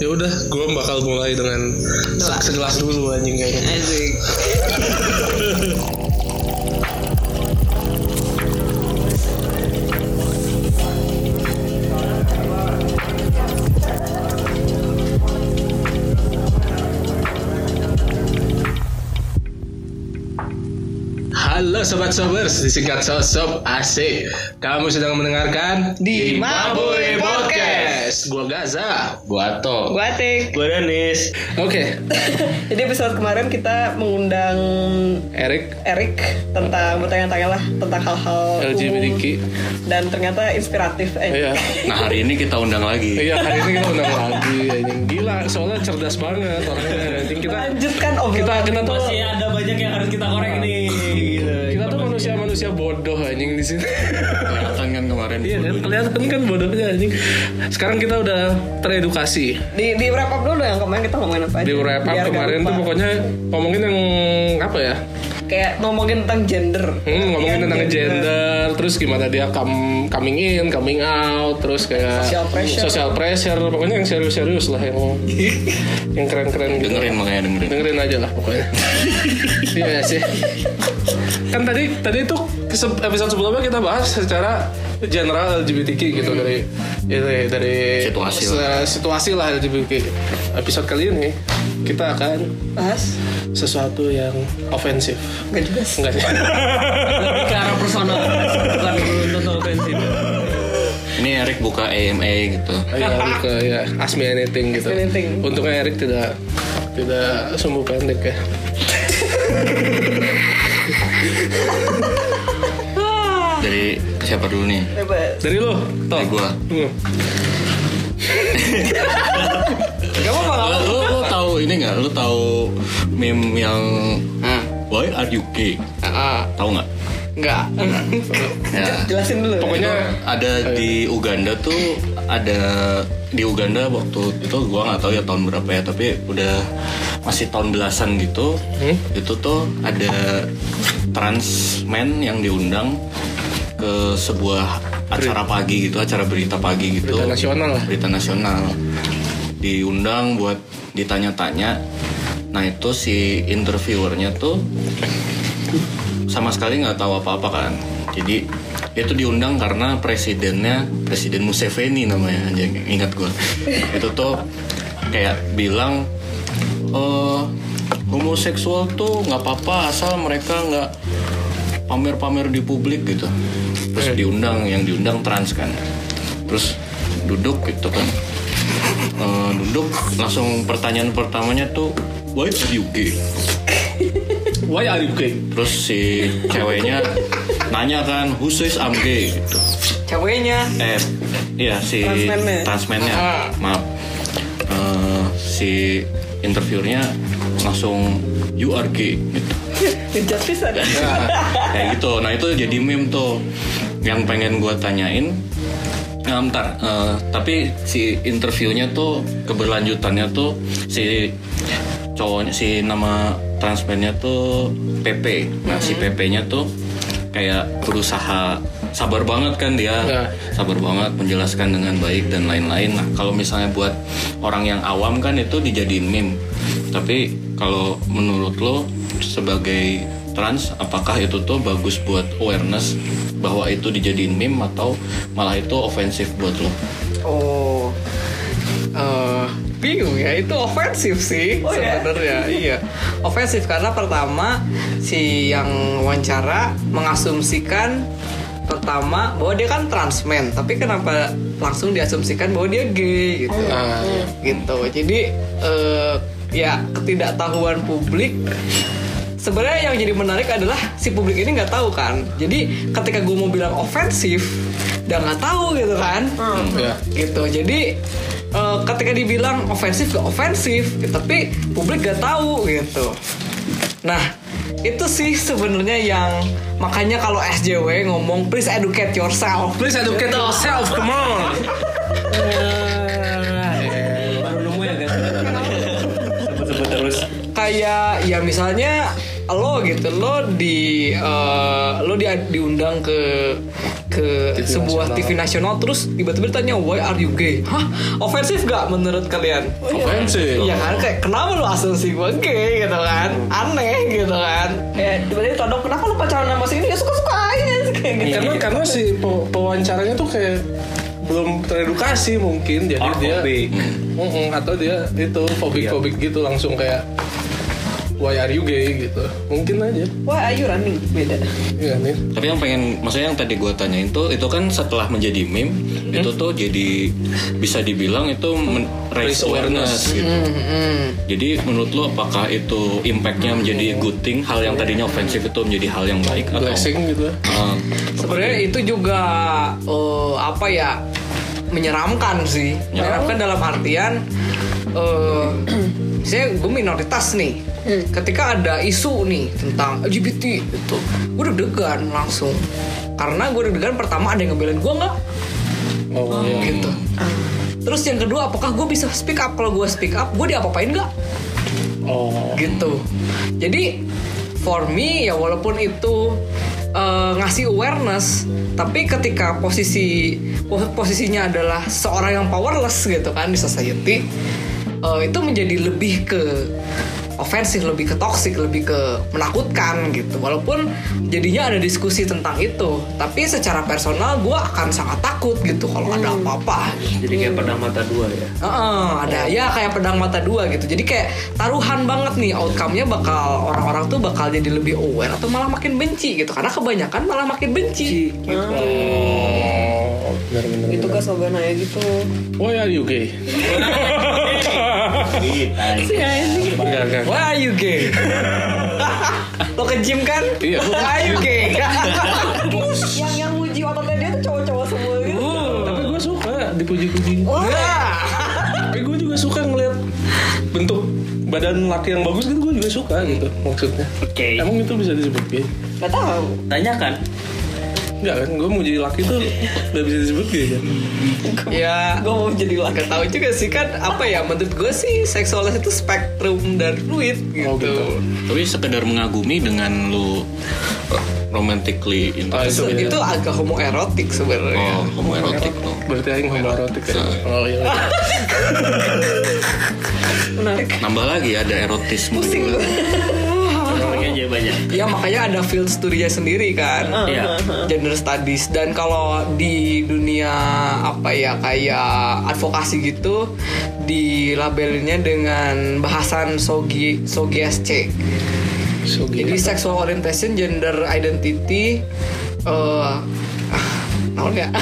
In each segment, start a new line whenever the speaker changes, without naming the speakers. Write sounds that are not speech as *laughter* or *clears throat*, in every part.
ya udah gue bakal mulai dengan
Doa.
segelas dulu anjing kayaknya
Asik.
Halo sobat sobers, disingkat sosok asik. Kamu sedang mendengarkan
Di Mabui Podcast.
Gua Gaza, Buato.
Gua Atik.
Gue Danis
Oke,
Jadi episode kemarin kita mengundang
Erik
Erik tentang bertanya-tanya lah tentang hal-hal umum.
LGBTQ.
dan ternyata inspiratif. Eh.
Iya.
Nah hari ini kita undang lagi
Iya, hari ini kita undang lagi anjing. Gila, soalnya cerdas banget orangnya anjing kita.
Lanjutkan obrolan.
Kita kita tuh
Masih ada banyak yang harus kita korek nih. Gitu.
kita tuh manusia-manusia bodoh anjing di sini.
Kelihatan kan kemarin
Iya kan kelihatan kan bodohnya anjing. Sekarang kita udah teredukasi.
Di di wrap up dulu yang kemarin kita ngomongin apa aja.
Di wrap up
Biar gak
kemarin
lupa.
tuh pokoknya ngomongin yang apa ya?
kayak ngomongin tentang gender. Iya,
Hmm, ngomongin tentang gender, terus gimana dia come- coming in, coming out, terus kayak
Social pressure.
social pressure, pokoknya yang serius-serius lah yang
*laughs*
yang keren-keren gitu.
Dengerin makanya dengerin
Dengerin aja lah
*laughs*
pokoknya. Iya nggak sih. Kan tadi tadi itu se- episode sebelumnya kita bahas secara general LGBTQ gitu dari dari, dari
Situasi
lah. situasi lah LGBTQ. Episode kali ini kita akan
Bahas
sesuatu yang ofensif.
gak jelas.
Enggak sih.
Lebih ke arah personal. Bukan untuk ofensif.
Ini Erik buka AMA gitu
Iya, lebih ke ya, ask me anything gitu.
Ask me anything.
Untungnya Erik tidak tidak sumbu pendek ya.
Dari siapa dulu nih?
Coba
Dari lo, toh.
Dari gua.
Hmm.
Lu, lu, lu tahu ini nggak? Lu tahu meme yang Why are you gay? Tahu nggak?
Eh, ah, Enggak.
Ya.
jelasin dulu.
Pokoknya
ada di Uganda tuh ada di Uganda waktu itu gua nggak tahu ya tahun berapa ya tapi udah masih tahun belasan gitu itu tuh ada trans men yang diundang ke sebuah acara pagi gitu acara berita pagi gitu
Berita nasional lah.
berita nasional diundang buat ditanya-tanya nah itu si interviewernya tuh sama sekali nggak tahu apa-apa kan jadi itu diundang karena presidennya presiden Museveni namanya aja ingat gue itu tuh kayak bilang eh homoseksual tuh nggak apa-apa asal mereka nggak pamer-pamer di publik gitu terus diundang yang diundang trans kan terus duduk gitu kan Eh, duduk langsung pertanyaan pertamanya tuh why are you gay
why are you gay?
terus si ceweknya nanya kan who says I'm gay gitu
ceweknya
eh iya si
Transmennya.
transmennya
Ah.
maaf Eh, si interviewernya langsung you are gay gitu
ngejat pisan.
kayak gitu nah itu jadi meme tuh yang pengen gua tanyain Nah, bentar. Eh, tapi si interviewnya tuh keberlanjutannya tuh si cowoknya si nama transmennya tuh PP. Nah si PP-nya tuh kayak berusaha sabar banget kan dia
Nah.
sabar banget menjelaskan dengan baik dan lain-lain. Nah kalau misalnya buat orang yang awam kan itu dijadiin meme. Tapi kalau menurut lo sebagai trans apakah itu tuh bagus buat awareness bahwa itu dijadiin meme atau malah itu ofensif buat lo?
Oh. Eh, bingung ya itu ofensif sih
Oh, ya?
sebenarnya iya
ofensif karena pertama si yang wawancara mengasumsikan pertama bahwa dia kan transmen tapi kenapa langsung diasumsikan bahwa dia gay gitu
Ah,
gitu jadi eh, ya ketidaktahuan publik sebenarnya yang jadi menarik adalah si publik ini nggak tahu kan jadi ketika gue mau bilang ofensif dia nggak tahu gitu kan
iya.
gitu jadi eh, ketika dibilang ofensif gak ofensif tapi publik gak tahu gitu nah itu sih sebenarnya yang makanya kalau SJW ngomong please educate yourself
please educate yourself come on
Baru nemu ya guys. Sebut-sebut terus.
kayak ya misalnya lo gitu lo di eh, lo di, diundang ke ke
TV
sebuah
nasional.
TV nasional terus tiba-tiba ditanya why are you gay? Hah? Ofensif gak menurut kalian?
Oh,
Offensive.
Iya kan kayak kenapa lu asumsi gue gay gitu kan? Aneh gitu kan?
ya tiba-tiba todok kenapa lu pacaran sama si ini ya suka suka aja kayak gitu
Iya.
karena karena si pe- pewawancaranya tuh kayak belum teredukasi mungkin jadi
Or
dia
fobik.
Mm-mm, atau dia itu fobik fobik gitu langsung kayak why are you gay gitu mungkin aja
wah ayu running beda
iya nih
Tapi yang pengen, maksudnya yang tadi gue tanyain tuh, itu kan setelah menjadi meme, itu tuh jadi bisa dibilang itu men-
Raise
raise awareness, gitu. Jadi menurut lo apakah itu impactnya menjadi good thing, hal yang tadinya ofensif itu menjadi hal yang baik atau?
blessing gitu
Uh,
Sebenarnya itu juga eh, apa ya menyeramkan sih. Menyeramkan dalam artian eh *clears throat* misalnya gue minoritas nih. Ketika ada isu nih tentang LGBT itu gue deg-degan langsung. Karena gue deg-degan pertama ada yang ngebelain gue nggak
oh, iya.
gitu. Terus yang kedua apakah gue bisa speak up kalau gue speak up gue diapa-apain nggak?
oh
gitu. Jadi for me ya walaupun itu eh, ngasih awareness, tapi ketika posisi pos- posisinya adalah seorang yang powerless gitu kan di society, eh, itu menjadi lebih ke ofensif, lebih ke toxic, lebih ke menakutkan gitu. Walaupun jadinya ada diskusi tentang itu, tapi secara personal gue akan sangat takut gitu kalau ada apa-apa.
Jadi kayak pedang mata dua ya.
Heeh, ada ya kayak pedang mata dua gitu. Jadi kayak taruhan banget nih outcome-nya bakal orang-orang tuh bakal jadi lebih aware atau malah makin benci gitu. Karena kebanyakan malah makin benci.
oh benar benar
itu
benar.
kan slogan aja gitu
why are you gay enggak enggak
Why are you
*laughs*
gay? Lo ke gym kan?
Iya.
Why are you
*laughs*
gay?
yang yang uji ototnya dia tuh cowok-cowok semua gitu
tapi gue suka dipuji-puji tapi gue juga suka ngeliat bentuk badan laki yang bagus gitu gue juga suka gitu maksudnya
Oke.
emang itu bisa disebut gay
nggak tahu
Tanyakan.
Enggak kan, gue muji laki tuh gak bisa disebut gay kan
ya,
Iya.
gue mau jadi laki
gak tahu juga sih kan apa ya menurut gue sih seksualitas itu spektrum dan fluid gitu.
Oh, gitu.
tapi sekedar mengagumi dengan lo romantically
Ah, itu
interested,
So,
beda.
itu agak homoerotik
iya.
sebenarnya.
oh, homoerotik lo.
Berarti aing homo erotik ya Oh iya
menarik
Nambah lagi ya, ada erotisme
pusing
juga.
gue
Orangnya aja banyak.
Ya makanya ada field studinya sendiri kan.
Ah.
Iya.
gender studies dan kalau di dunia apa ya kayak advokasi gitu dilabelinnya dengan bahasan sogi sogsc
So gay
jadi sexual orientation gender identity eh tahu nggak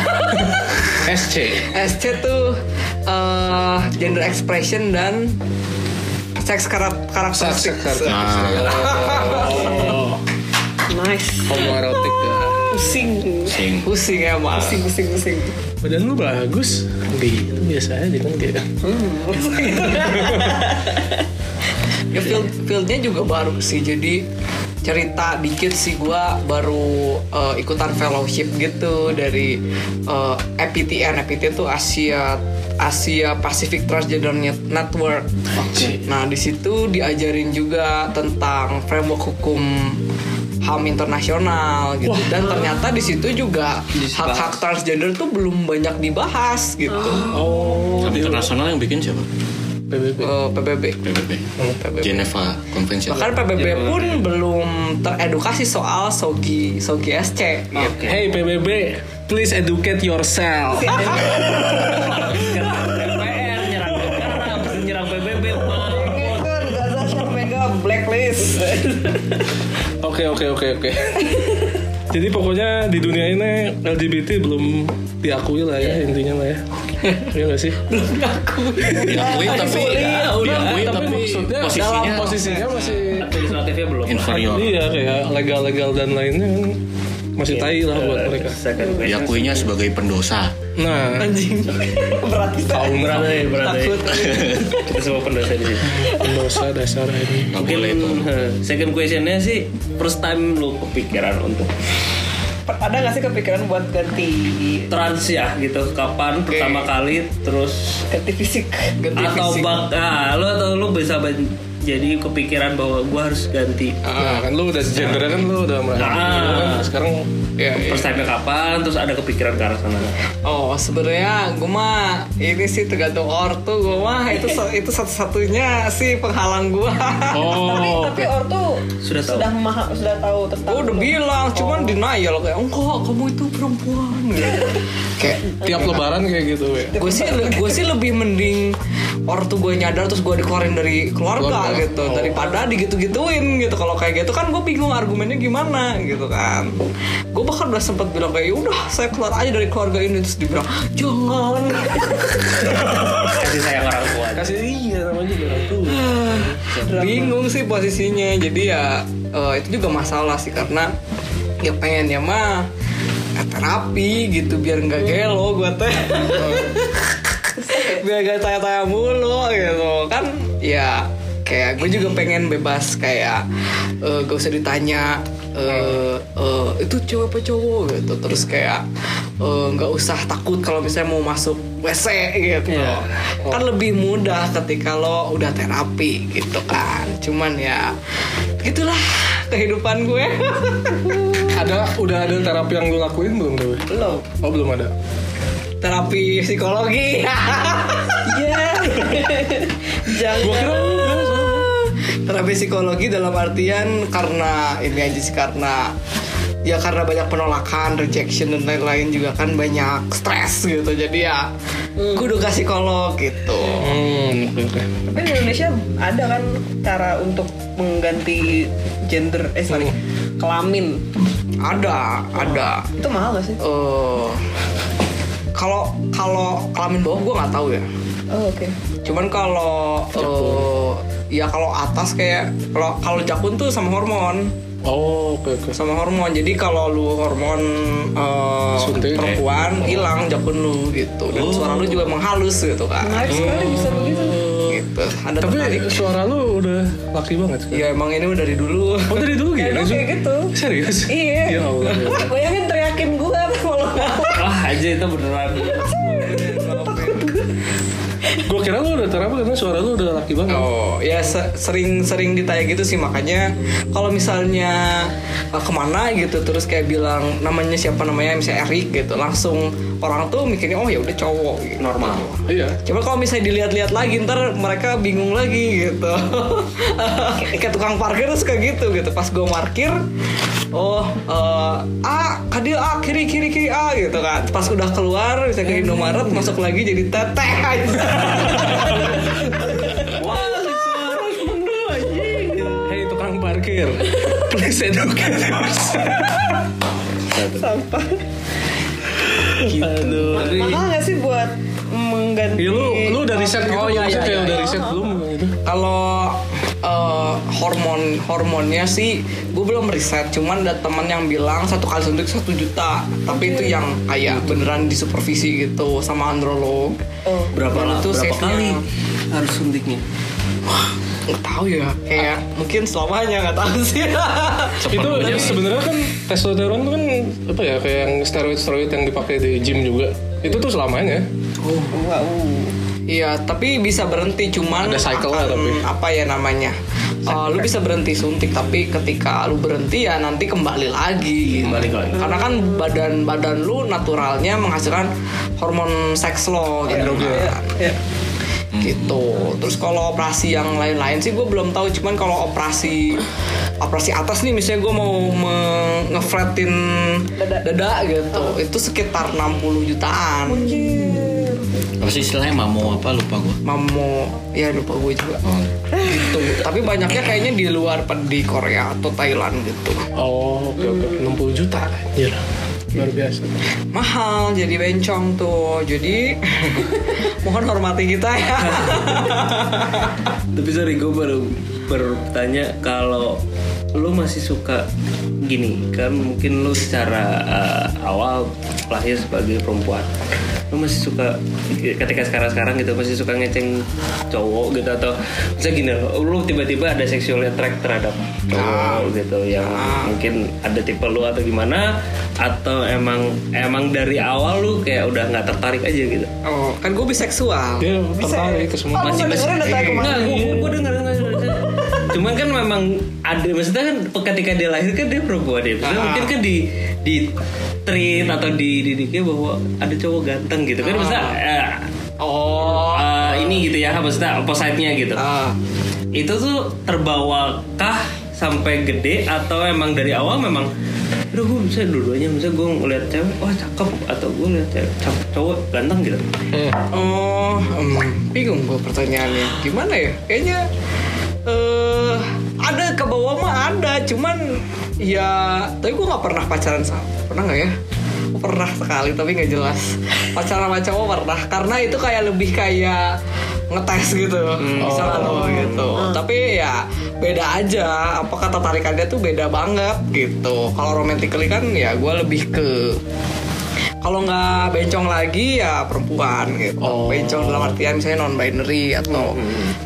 *laughs*
SC
sc tuh eh, gender expression dan seks karak- karakteristik
Nah,
nice
Homo erotik ya
pusing
sing.
pusing ya mas
pusing pusing pusing
Badan lu bagus Gay itu biasa aja kan gay
ya field fieldnya juga baru sih jadi cerita dikit sih gua baru eh, ikutan fellowship gitu dari eh, APTN APT itu Asia Asia Pacific Transgender Net- Network. Nah di situ diajarin juga tentang framework hukum HAM internasional gitu dan ternyata di situ juga hak-hak transgender tuh belum banyak dibahas gitu
Oh
Ham internasional yang bikin siapa?
PBB
Eh, PBB.
PBB.
PBB.
Geneva Convention.
Bahkan PBB pun belum teredukasi soal sogi sogi SC. gitu.
Hey PBB Please educate yourself
DPR nyerang negara, habis nyerang PBB.
Kan Gaza Shot Mega blacklist
Oke oke oke oke. *laughs* Jadi pokoknya di dunia ini LGBT belum diakui lah ya intinya lah ya. Iya gak sih?
Diakui tapi diakui tapi
Iya, maksudnya dalam
posisinya
posisinya masih
Legislatifnya belum.
inferior.
iya kayak legal-legal dan lainnya kan masih tai lah buat mereka.
Second question.
Diakuinya sebagai pendosa.
Nah,
Kaum berada ya berada. ya. Kita semua pendosa di sini.
dosa dasar ini.
Nggak
Mungkin
boleh itu.
eh, second questionnya sih first time lu kepikiran untuk
ada nggak sih kepikiran buat ganti
trans ya gitu kapan pertama kali terus
ganti fisik
Ganti
atau
fisik.
bak ah, lu atau lu bisa ben- jadi kepikiran bahwa gue harus ganti
Ah, kan lu udah gendernya kan lu udah merasa
Ah.
gitu kan sekarang ya, ya.
first time kapan terus ada kepikiran ke arah sana
Oh sebenarnya gue mah ini sih tergantung ortu gue mah itu itu satu-satunya sih penghalang gue.
tapi
oh
tapi ortu
Sudah tahu.
sudah maha- sudah tahu tentang
Gue udah
itu.
bilang, cuman denial kayak enggak kamu itu perempuan. Gitu. kayak
tiap lebaran kayak gitu ya
gue sih gue sih lebih mending ortu gue nyadar terus gue dikeluarin dari keluarga,
Keluarga.
gitu
Oh.
daripada digitu-gituin gitu kalau kayak gitu kan gue bingung argumennya gimana gitu kan gue bahkan udah sempat bilang kayak "Ya udah saya keluar aja dari keluarga ini terus dibilang jangan
kasih sayang orang tua
kasih iya namanya juga tuh
bingung sih posisinya jadi ya eh, itu juga masalah sih karena ya pengennya mah eh, terapi gitu biar
Hmm.
nggak gelo gue teh biar gak tanya-tanya mulu gitu kan ya kayak gue juga pengen bebas kayak eh, gak usah ditanya eh, eh, itu cewek apa cowok gitu terus kayak eh, nggak usah takut kalau misalnya mau masuk WC gitu kan lebih mudah ketika lo udah terapi gitu kan cuman ya gitulah kehidupan gue *laughs*
ada udah ada terapi yang lu lakuin belum Dewi?
belum
oh belum ada
terapi psikologi
iya jangan
gua kira lu udah, soalnya.
terapi psikologi dalam artian karena ini aja sih karena ya karena banyak penolakan, rejection dan lain-lain juga kan banyak stres gitu. Jadi ya gue udah ke psikolog gitu.
hmm oke oke
tapi di Indonesia ada kan cara untuk mengganti gender eh sorry kelamin
Ada, ada.
itu mahal gak sih
Eh kalau kalau kelamin bawah gue nggak tahu ya.
oh oke
Cuman kalau eh, ya kalau atas kayak kalau kalau jakun tuh sama hormon.
oh oke oke
sama hormon jadi kalau lu hormon eh,
Suntik. Oh.
perempuan hilang jakun lu gitu dan suara lu juga menghalus gitu kan
menarik sekali bisa begitu
gitu ada
tapi
tertarik
suara lu udah laki banget kan?
ya emang ini udah dari dulu
oh dari dulu gitu
Emang kayak gitu
serius ya
Iya.
Allah ya.
bayangin teriakin gue kalau nggak
wah aja itu beneran
iya. gua kira lu udah terapi karena suara lu udah laki banget
Oh ya se- sering-sering ditanya gitu sih makanya kalau misalnya eh, kemana gitu terus kayak bilang namanya siapa namanya misalnya Erik gitu langsung orang tuh mikirnya oh ya udah cowok gitu.
normal
iya
Coba kalau misalnya dilihat-lihat lagi ntar mereka bingung lagi gitu. Kayak tukang parkir tuh suka gitu gitu. Pas gue parkir, oh eh, ah kadil ah kiri kiri kiri ah gitu kan. Pas udah keluar bisa ke Indomaret masuk lagi jadi teteh. aja. Wah,
Hei tukang parkir, please educate
sampah
Aduh.
mahal gak sih buat
Iya,
mengganti
Ya lu lu udah riset gitu,
Oh, iya,
maksudnya kayak
iya, iya,
udah
iya.
riset belum gitu.
Kalau eh, hormon hormonnya sih, gue belum riset. Cuman ada teman yang bilang satu kali suntik satu juta, tapi itu yang kayak beneran disupervisi gitu sama androlog.
Oh.
berapa
Dan
lah
itu
berapa
safe-nya.
kali harus suntiknya
Nggak tahu ya, kayak mungkin selamanya nggak tahu sih. *laughs*
Itu ya, sebenarnya kan testosteron tuh kan apa ya kayak yang steroid steroid yang dipakai di gym juga. Itu tuh ya. selamanya.
wow
Iya, tapi bisa berhenti cuman
Ada cycle-nya
akan-
tapi.
apa ya namanya? Eh, lu bisa berhenti suntik tapi ketika lu berhenti ya nanti kembali lagi.
Kembali lagi.
Karena kan badan badan lu naturalnya menghasilkan hormon seks lo gitu. kan.
ya
gitu terus kalau operasi yang lain-lain sih gue belum tahu cuman kalau operasi operasi atas nih misalnya gue mau me- ngeflatin
Dada.
dada. gitu itu sekitar 60 jutaan
apa sih istilahnya mamu apa lupa Oh. gue
mamo ya lupa gue juga gitu tapi banyaknya kayaknya di luar di Korea atau Thailand gitu
Oh, oke Iya. oke. 60 juta. Anjir. Luar biasa.
mahal jadi bencong tuh jadi *laughs* mohon hormati kita ya
tapi sorry gue baru bertanya kalau lu masih suka gini kan mungkin lu secara uh, awal lahir sebagai perempuan lu masih suka ketika sekarang sekarang gitu masih suka ngeceng cowok gitu atau misalnya gini lu tiba-tiba ada sexual attract terhadap cowok gitu yang mungkin ada tipe lu atau gimana atau emang emang dari awal lu kayak udah nggak tertarik aja gitu
oh kan gue biseksual
Dia tertarik ke semua.
oh,
Masih-
masih
masih- Iya.
dengerin data aku
Enggak,
mana
gue denger, denger, denger. cuman kan memang ada maksudnya kan ketika dia lahir kan dia perempuan ya maksudnya
Ah.
mungkin kan di di treat atau dididiknya bahwa ada cowok ganteng gitu kan maksudnya
Ah.
eh,
Oh.
eh, ini gitu ya maksudnya opposite-nya gitu
Ah.
itu tuh terbawakah sampai gede atau emang dari awal memang Aduh gue bisa dua-duanya Misalnya gue ngeliat cewek Wah cakep Atau gue ngeliat cewek cakep, Cowok ganteng gitu
Oh, em, bingung gue pertanyaannya. Gimana ya? Kayaknya eh ada ke bawah mah ada, cuman ya tapi gue nggak pernah pacaran sama. Pernah nggak ya? Gua Pernah sekali tapi nggak jelas. Pacaran sama cowok pernah karena itu kayak lebih kayak ngetes gitu. Misal kalau gitu. Tapi ya beda aja. Apakah tertarikannya tuh beda banget gitu. Kalau romantically kan ya gue lebih ke kalau nggak bencong lagi ya perempuan gitu bencong dalam artian misalnya non binary atau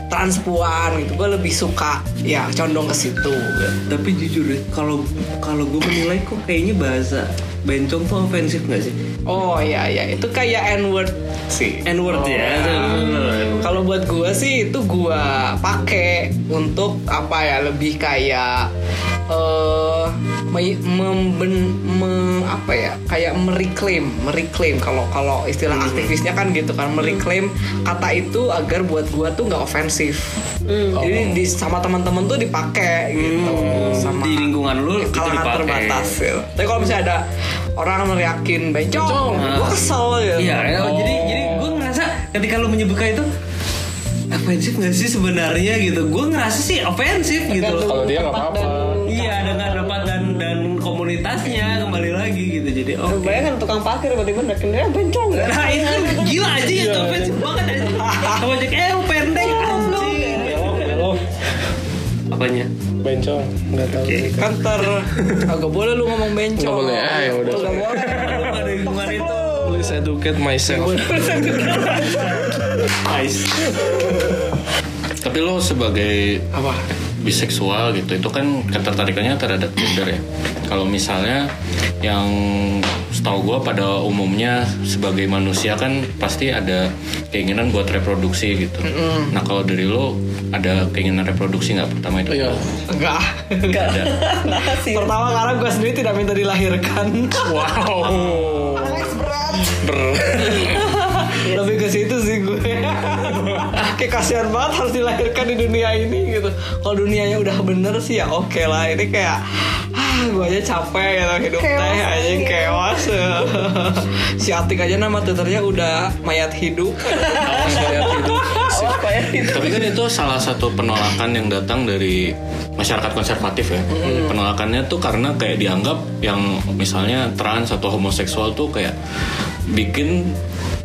transpuan gitu gue lebih suka ya condong ke situ gitu.
Tapi jujur deh Kalau kalau gue menilai kok kayaknya bahasa Bencong tuh ofensif gak sih?
oh iya iya itu kayak n word sih
N-word ya
iya. kalau buat gue sih itu gue pakai untuk apa ya lebih kayak eh me- memben- me- apa ya kayak mereclaim mereclaim kalau kalau istilah
Hmm.
aktivisnya kan gitu kan mereclaim kata itu agar buat gue tuh nggak ofensif jadi
Oh.
di, sama teman-teman tuh dipakai gitu sama
Hmm, Di lingkungan lu itu
kalangan
dipakai.
terbatas gitu. tapi kalau misalnya ada orang neriakin bencong, gue kesel gitu
Ah. Iya ya, Jadi jadi
Oh.
gue ngerasa Ketika lu menyebutkan itu Ofensif gak sih sebenarnya gitu Gue ngerasa sih ofensif gitu loh
Kalau dia nggak apa-apa.
Iya dengan rapat dan dan komunitasnya kembali lagi gitu jadi oke.
Bayangkan tukang parkir tiba-tiba nakin dia bencong ya.
Nah itu kan gila aja ya
Iya.
tuh offensive banget anjing. Sama aja eh lu pendek anjing.
Halo,
Apanya?
bencong. Nggak tahu. sih.
kan ter agak boleh lu ngomong bencong
Nggak boleh. Ah, ya udah.
Lu nggak boleh
Ada hubungan itu.
Please educate myself.
Nice.
Tapi lo sebagai
apa
biseksual gitu itu kan ketertarikannya terhadap gender ya kalau misalnya yang setahu gue pada umumnya sebagai manusia kan pasti ada keinginan buat reproduksi gitu nah kalau dari lo ada keinginan reproduksi nggak pertama itu
Iya.
enggak
Nggak ada
pertama karena gue sendiri tidak minta dilahirkan
Wow. Ber.
lebih ke situ sih gue kayak kasihan banget harus dilahirkan di dunia ini gitu kalau dunianya udah bener sih ya oke lah ini kayak ah gue aja capek gitu hidup teh anjing *laughs* kewas si Atik aja nama twitternya udah mayat hidup
Tapi kan itu salah satu penolakan yang datang dari masyarakat konservatif ya.
Mm-hmm.
Penolakannya tuh karena kayak dianggap yang misalnya trans atau homoseksual tuh kayak bikin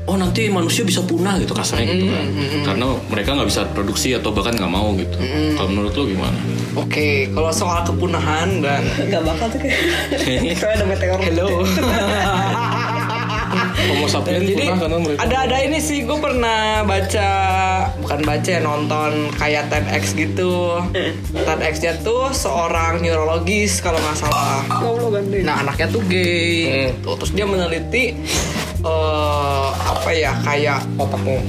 oh nanti manusia bisa punah gitu kasarnya gitu kan.
Mm-hmm.
Karena mereka nggak bisa produksi atau bahkan nggak mau gitu.
Mm-hmm.
Kalau menurut lo gimana?
Ya. Oke, kalau soal kepunahan dan
Gak bakal tuh kayak. Soalnya ada meteor.
hello.
Homo sapiens
*laughs* Jadi
punah karena mereka.
ada ada ini sih gue pernah baca bukan baca ya, nonton kayak TEDx gitu. TEDx-nya tuh seorang neurologis kalau nggak salah. Nah anaknya tuh gay, gitu. terus dia meneliti eh apa ya kayak otakmu.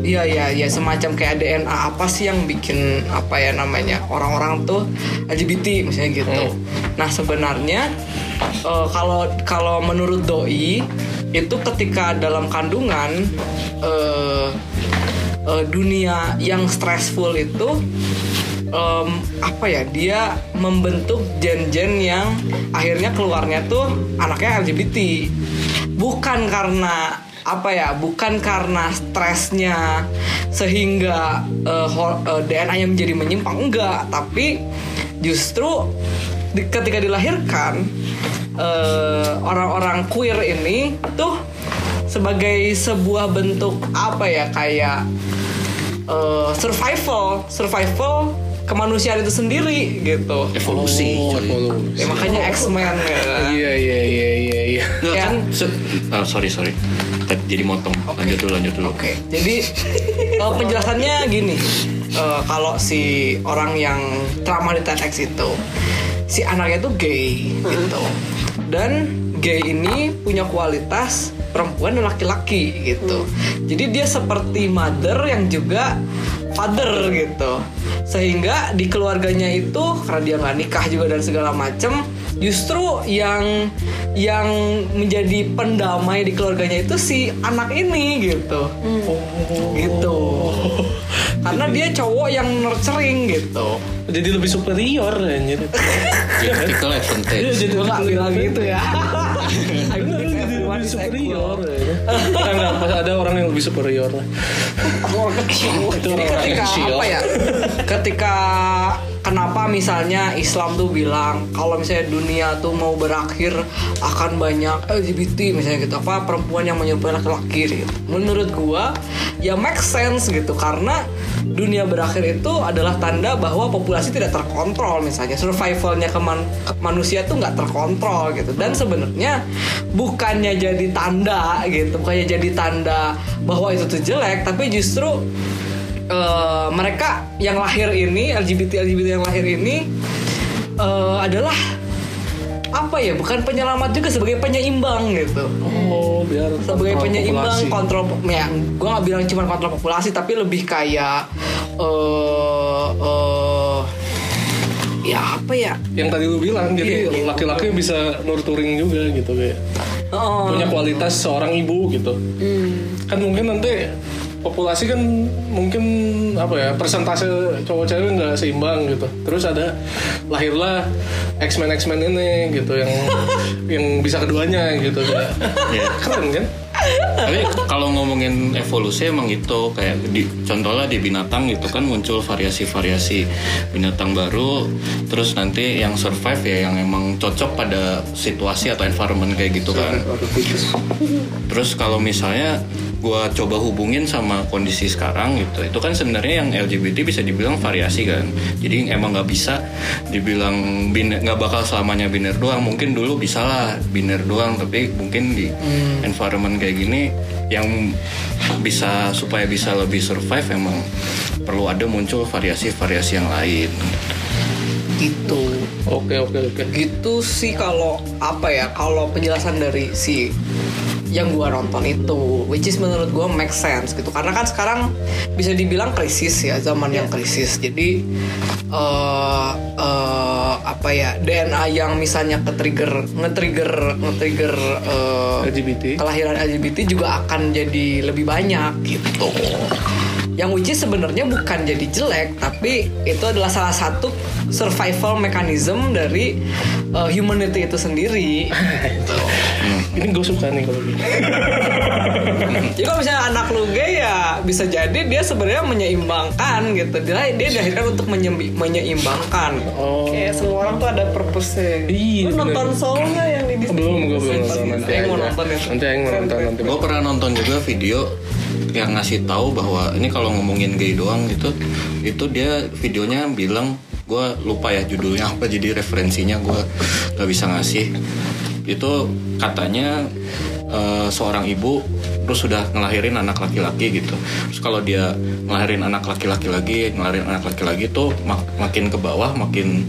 Iya iya iya semacam kayak DNA apa sih yang bikin apa ya namanya orang-orang tuh LGBT misalnya gitu. Nah sebenarnya eh, kalau kalau menurut doi itu ketika dalam kandungan eh, eh, dunia yang stressful itu em, apa ya dia membentuk gen-gen yang akhirnya keluarnya tuh anaknya LGBT bukan karena apa ya bukan karena stresnya sehingga eh, DNA-nya menjadi menyimpang enggak tapi justru di- ketika dilahirkan eh, orang-orang queer ini tuh sebagai sebuah bentuk apa ya kayak eh, survival, survival kemanusiaan itu sendiri gitu.
Evolusi. coy.
Ya, makanya X-Men ya. kan.
Iya iya iya iya iya.
Nggak,
Yang-
kan se- Ah, sorry sorry. Tadi Jadi motong. Lanjut dulu lanjut dulu.
Oke, jadi eh, penjelasannya gini. Eh, kalau si orang yang trauma di TEDx itu si anaknya tuh gay gitu. Dan gay ini punya kualitas perempuan dan laki-laki gitu. Jadi dia seperti mother yang juga father gitu sehingga di keluarganya itu karena dia nggak nikah juga dan segala macem justru yang yang menjadi pendamai di keluarganya itu si anak ini gitu gitu karena dia cowok yang nurturing gitu
Jadi lebih superior anjir.
Critical
Iya,
advantage.
jadi
Gua nggak bilang gitu ya I
Bener,
believe
jadi
everyone
lebih
is
superior.
equal.
ya. Kita nggak pas ada orang yang lebih superior lah.
orang kecil.
Itu
Jadi
orang
ketika
kecil.
apa ya? Ketika kenapa misalnya Islam tuh bilang kalau misalnya dunia tuh mau berakhir akan banyak LGBT misalnya gitu apa perempuan yang menyerupai laki-laki gitu. Menurut gua ya make sense gitu karena dunia berakhir itu adalah tanda bahwa populasi tidak terkontrol misalnya Ya, survivalnya keman- ke manusia tuh nggak terkontrol gitu dan sebenarnya bukannya jadi tanda gitu bukannya jadi tanda bahwa itu tuh jelek tapi justru eh, mereka yang lahir ini LGBT LGBT yang lahir ini eh, adalah apa ya bukan penyelamat juga sebagai penyeimbang gitu
Oh, biar
sebagai
kontrol
penyeimbang
populasi.
kontrol ya gue nggak bilang cuma kontrol populasi tapi lebih kayak eh eh, ya apa ya
yang tadi lu bilang jadi
Iya.
laki-laki bisa nurturing juga gitu kayak
Eh,
punya kualitas seorang ibu gitu
Hmm.
kan mungkin nanti populasi kan mungkin apa ya persentase cowok cewek nggak seimbang gitu terus ada lahirlah X Men X Men ini gitu
*laughs*
yang yang bisa keduanya gitu kayak
Iya.
keren kan
Tapi kalau ngomongin evolusi emang gitu kayak di, contohnya di binatang gitu kan muncul variasi-variasi binatang baru terus nanti yang survive ya yang emang cocok pada situasi atau environment kayak gitu kan. Terus kalau misalnya gua coba hubungin sama kondisi sekarang gitu, itu kan sebenarnya yang LGBT bisa dibilang variasi kan. Jadi emang nggak bisa dibilang biner- nggak bakal selamanya biner doang. Mungkin dulu bisa lah biner doang, tapi mungkin di environment kayak gini yang bisa supaya bisa lebih survive emang perlu ada muncul variasi-variasi yang lain.
gitu
oke oke oke
gitu sih kalau apa ya kalau penjelasan dari si yang gua nonton itu which is menurut gua make sense gitu karena kan sekarang bisa dibilang krisis ya zaman yang krisis jadi eh eh, apa ya DNA yang misalnya ke trigger nge-trigger nge-trigger eh,
LGBT
kelahiran LGBT juga akan jadi lebih banyak gitu. Yang which is sebenarnya bukan jadi jelek, tapi itu adalah salah satu survival mechanism dari uh, humanity itu
*laughs*
sendiri.
ini gue suka nih kalau gitu
Jadi kalau misalnya anak lu gay ya bisa jadi dia sebenarnya menyeimbangkan gitu. Dia dia dilahirkan untuk menyembi- menyeimbangkan.
oh
Kayak semua orang tuh ada purpose-nya.
iya
Lu
bener.
nonton Soul nggak yang di Disney?
belum gue belum nonton nanti
Aing mau
aja.
Eh, nonton ya? itu.
nanti aing mau nonton nanti
Gue Gitu. pernah nonton juga video yang ngasih tahu bahwa ini kalau ngomongin gay doang itu itu dia videonya bilang gue lupa ya judulnya apa jadi referensinya gue gak bisa ngasih itu katanya eh, seorang ibu terus sudah ngelahirin anak laki-laki gitu terus kalau dia ngelahirin anak laki-laki lagi ngelahirin anak laki-lagi tuh mak- makin ke bawah makin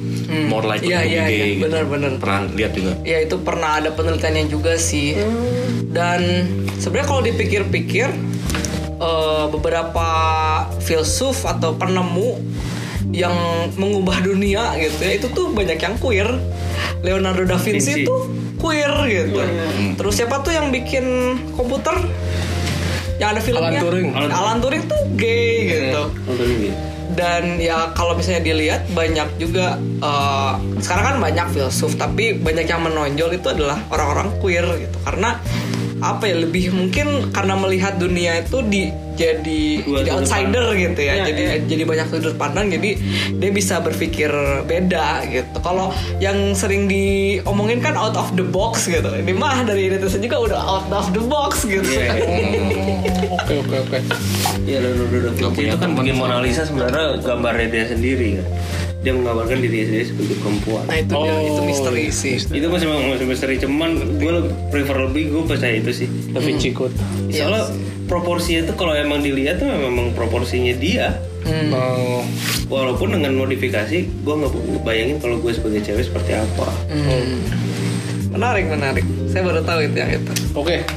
more likely
Iya,
to be
iya,
gay
iya.
gitu.
Benar, benar.
pernah lihat juga
ya itu pernah ada penelitiannya juga sih dan sebenarnya kalau dipikir-pikir eh, beberapa filsuf atau penemu yang mengubah dunia gitu ya itu tuh banyak yang queer Leonardo da Vinci,
Vinci.
tuh queer gitu terus siapa tuh yang bikin komputer yang ada
Alan
filmnya
Turing.
Alan Turing tuh gay gitu
Nonton ini.
dan ya kalau misalnya dilihat banyak juga eh, sekarang kan banyak filsuf tapi banyak yang menonjol itu adalah orang-orang queer gitu karena apa ya lebih mungkin karena melihat dunia itu di jadi
Dua
jadi
sudut
outsider gitu ya,
Ya,
jadi jadi banyak sudut pandang jadi dia bisa berpikir beda gitu kalau yang sering diomongin kan out of the box gitu ini mah dari netizen juga udah out of the box gitu
oke oke oke
Iya Leonardo da
Nggak
Vinci
punya
itu kan
teman
bikin
soalnya.
Mona Lisa sebenarnya gambarnya dia sendiri kan. Dia menggambarkan dirinya sendiri sebagai perempuan.
nah itu dia itu misteri sih
Itu masih masih misteri cuman gue lebih- prefer lebih gue percaya itu sih.
tapi
Hmm.
cikut
Soalnya proporsinya itu kalau emang dilihat tuh memang proporsinya dia.
Hmm.
Mau-
Walaupun dengan modifikasi, gue nggak bayangin kalau gue sebagai cewek seperti apa.
menarik menarik saya baru tahu itu yang itu
Oke.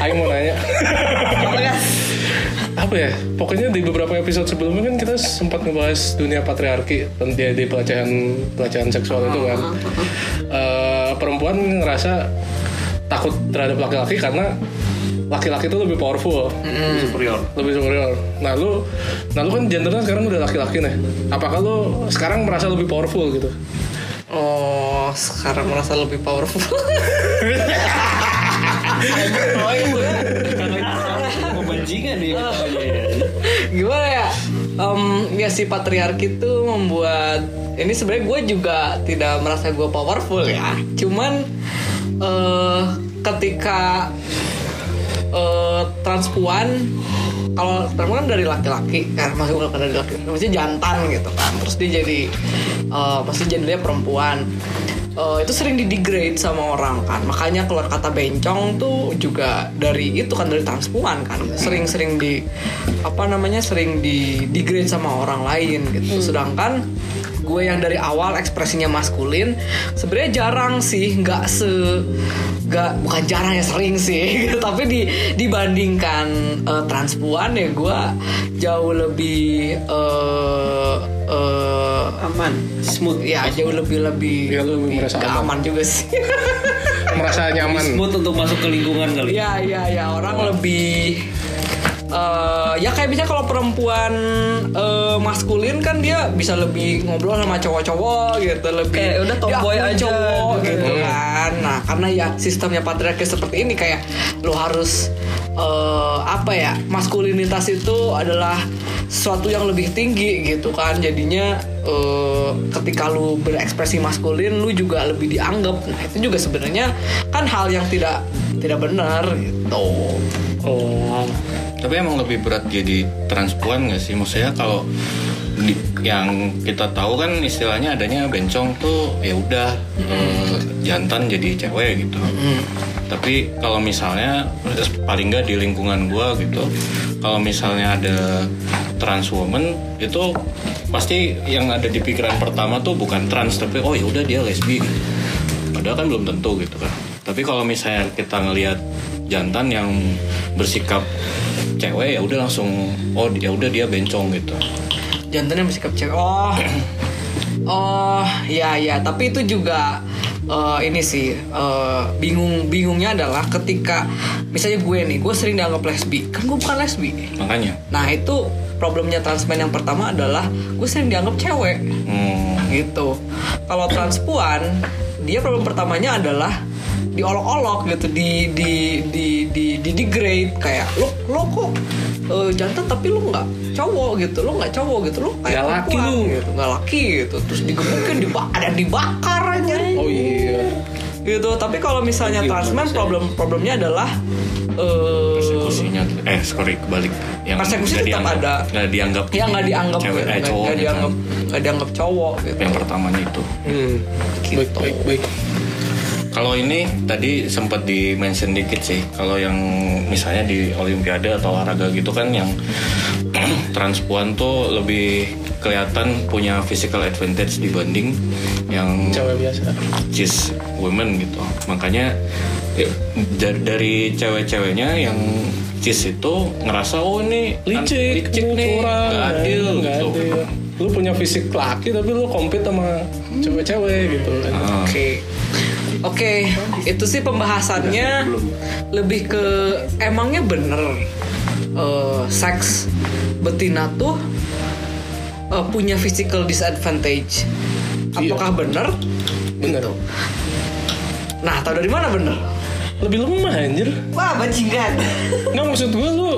Aing mau nanya. apa ya pokoknya di beberapa episode sebelumnya kan kita sempat ngebahas dunia patriarki dan dia di pelecehan pelecehan seksual itu kan Eh, perempuan ngerasa takut terhadap laki-laki karena laki-laki itu lebih powerful
superior
lebih superior nah lu nah lu kan gendernya sekarang udah laki-laki nih apakah lu sekarang merasa lebih powerful gitu
Oh, sekarang merasa lebih powerful. oh, itu ya.
pembajingan nih
Gimana ya? Em, ya si patriarki itu membuat ini sebenarnya gue juga tidak merasa gue powerful ya. Cuman eh ketika eh transpuan kalau transpuan kan dari laki-laki kan masih bukan dari laki-laki maksudnya jantan gitu kan terus dia jadi eh pasti gendernya perempuan Eh, itu sering di degrade sama orang kan makanya keluar kata bencong tuh juga dari itu kan dari transpuan kan sering-sering di apa namanya sering di degrade sama orang lain gitu sedangkan gue yang dari awal ekspresinya maskulin sebenarnya jarang sih nggak se gak bukan jarang ya sering sih *laughs* gitu. tapi di dibandingkan eh, transpuan ya gue jauh lebih eh eh,
aman
smooth
ya jauh lebih lebih
Ya, lu
lebih
merasa
gak
aman.
aman juga sih *laughs*
merasa nyaman
smooth Kan untuk masuk ke lingkungan kali
ya ya ya orang lebih eh, ya kayak bisa kalau perempuan eh, maskulin kan dia bisa lebih ngobrol sama cowok-cowok gitu lebih
Kayak udah tomboy
"Ya, aku
aja,"
cowok
gitu.
gitu kan nah karena ya sistemnya patriarki seperti ini kayak lo harus eh, apa ya maskulinitas itu adalah sesuatu yang lebih tinggi gitu kan jadinya eh, ketika lu berekspresi maskulin lu juga lebih dianggap nah itu juga sebenarnya kan hal yang tidak tidak benar gitu
oh
Tapi emang lebih berat jadi transpuan nggak sih? Maksudnya kalau di- yang kita tahu kan istilahnya adanya bencong tuh ya udah eh, jantan jadi cewek gitu. Tapi kalau misalnya paling nggak di lingkungan gua gitu, kalau misalnya ada trans woman itu pasti yang ada di pikiran pertama tuh bukan trans tapi oh ya udah dia lesbi gitu. Padahal kan belum tentu gitu kan. Tapi kalau misalnya kita ngelihat jantan yang bersikap cewek ya udah langsung oh ya udah dia bencong gitu.
jantannya masih cewek oh oh ya ya tapi itu juga eh, ini sih eh, bingung bingungnya adalah ketika misalnya gue nih gue sering dianggap lesbi kan gue bukan lesbi
Makanya.
nah itu problemnya transmen yang pertama adalah gue sering dianggap cewek
Hmm,
gitu kalau transpuan dia problem pertamanya adalah diolok-olok gitu di di di di di degrade kayak lo lo kok eh, jantan tapi lo nggak cowok gitu lo nggak cowok gitu lo kayak
Nggak laki
perempuan,
lu.
gitu nggak laki gitu terus digebukin diba- ada yang dibakar aja
oh iya
gitu tapi kalau misalnya transmen problem problemnya adalah eh,
persekusinya eh sorry kebalik yang
Persekusi
nggak
tetap
dianggap-
ada.
nggak dianggap
ya nggak dianggap
cewek eh,
nggak-
cowok
nggak
gitu
dianggap
kan.
nggak dianggap cowok gitu
yang pertamanya itu
hmm. baik
Gitu.
baik baik
kalau ini tadi sempat di mention dikit sih kalau yang misalnya di olimpiade atau olahraga gitu kan yang *clears throat* transpuan tuh lebih kelihatan punya physical advantage dibanding yang
cewek biasa
cis women gitu makanya ya, da- dari cewek-ceweknya yang cis itu ngerasa oh ini an-
licik,
licik nih
curang,
nggak adil
nggak
gitu
adil. Lu punya fisik laki tapi lu compete sama cewek-cewek gitu.
Ah.
Oke. Oke, itu sih pembahasannya lebih ke emangnya bener eh, seks betina tuh eh, punya physical disadvantage.
Iya.
Apakah bener?
Bener.
Nah, tahu dari mana bener?
Lebih lemah anjir.
wah bajingan
Nggak maksud gua lu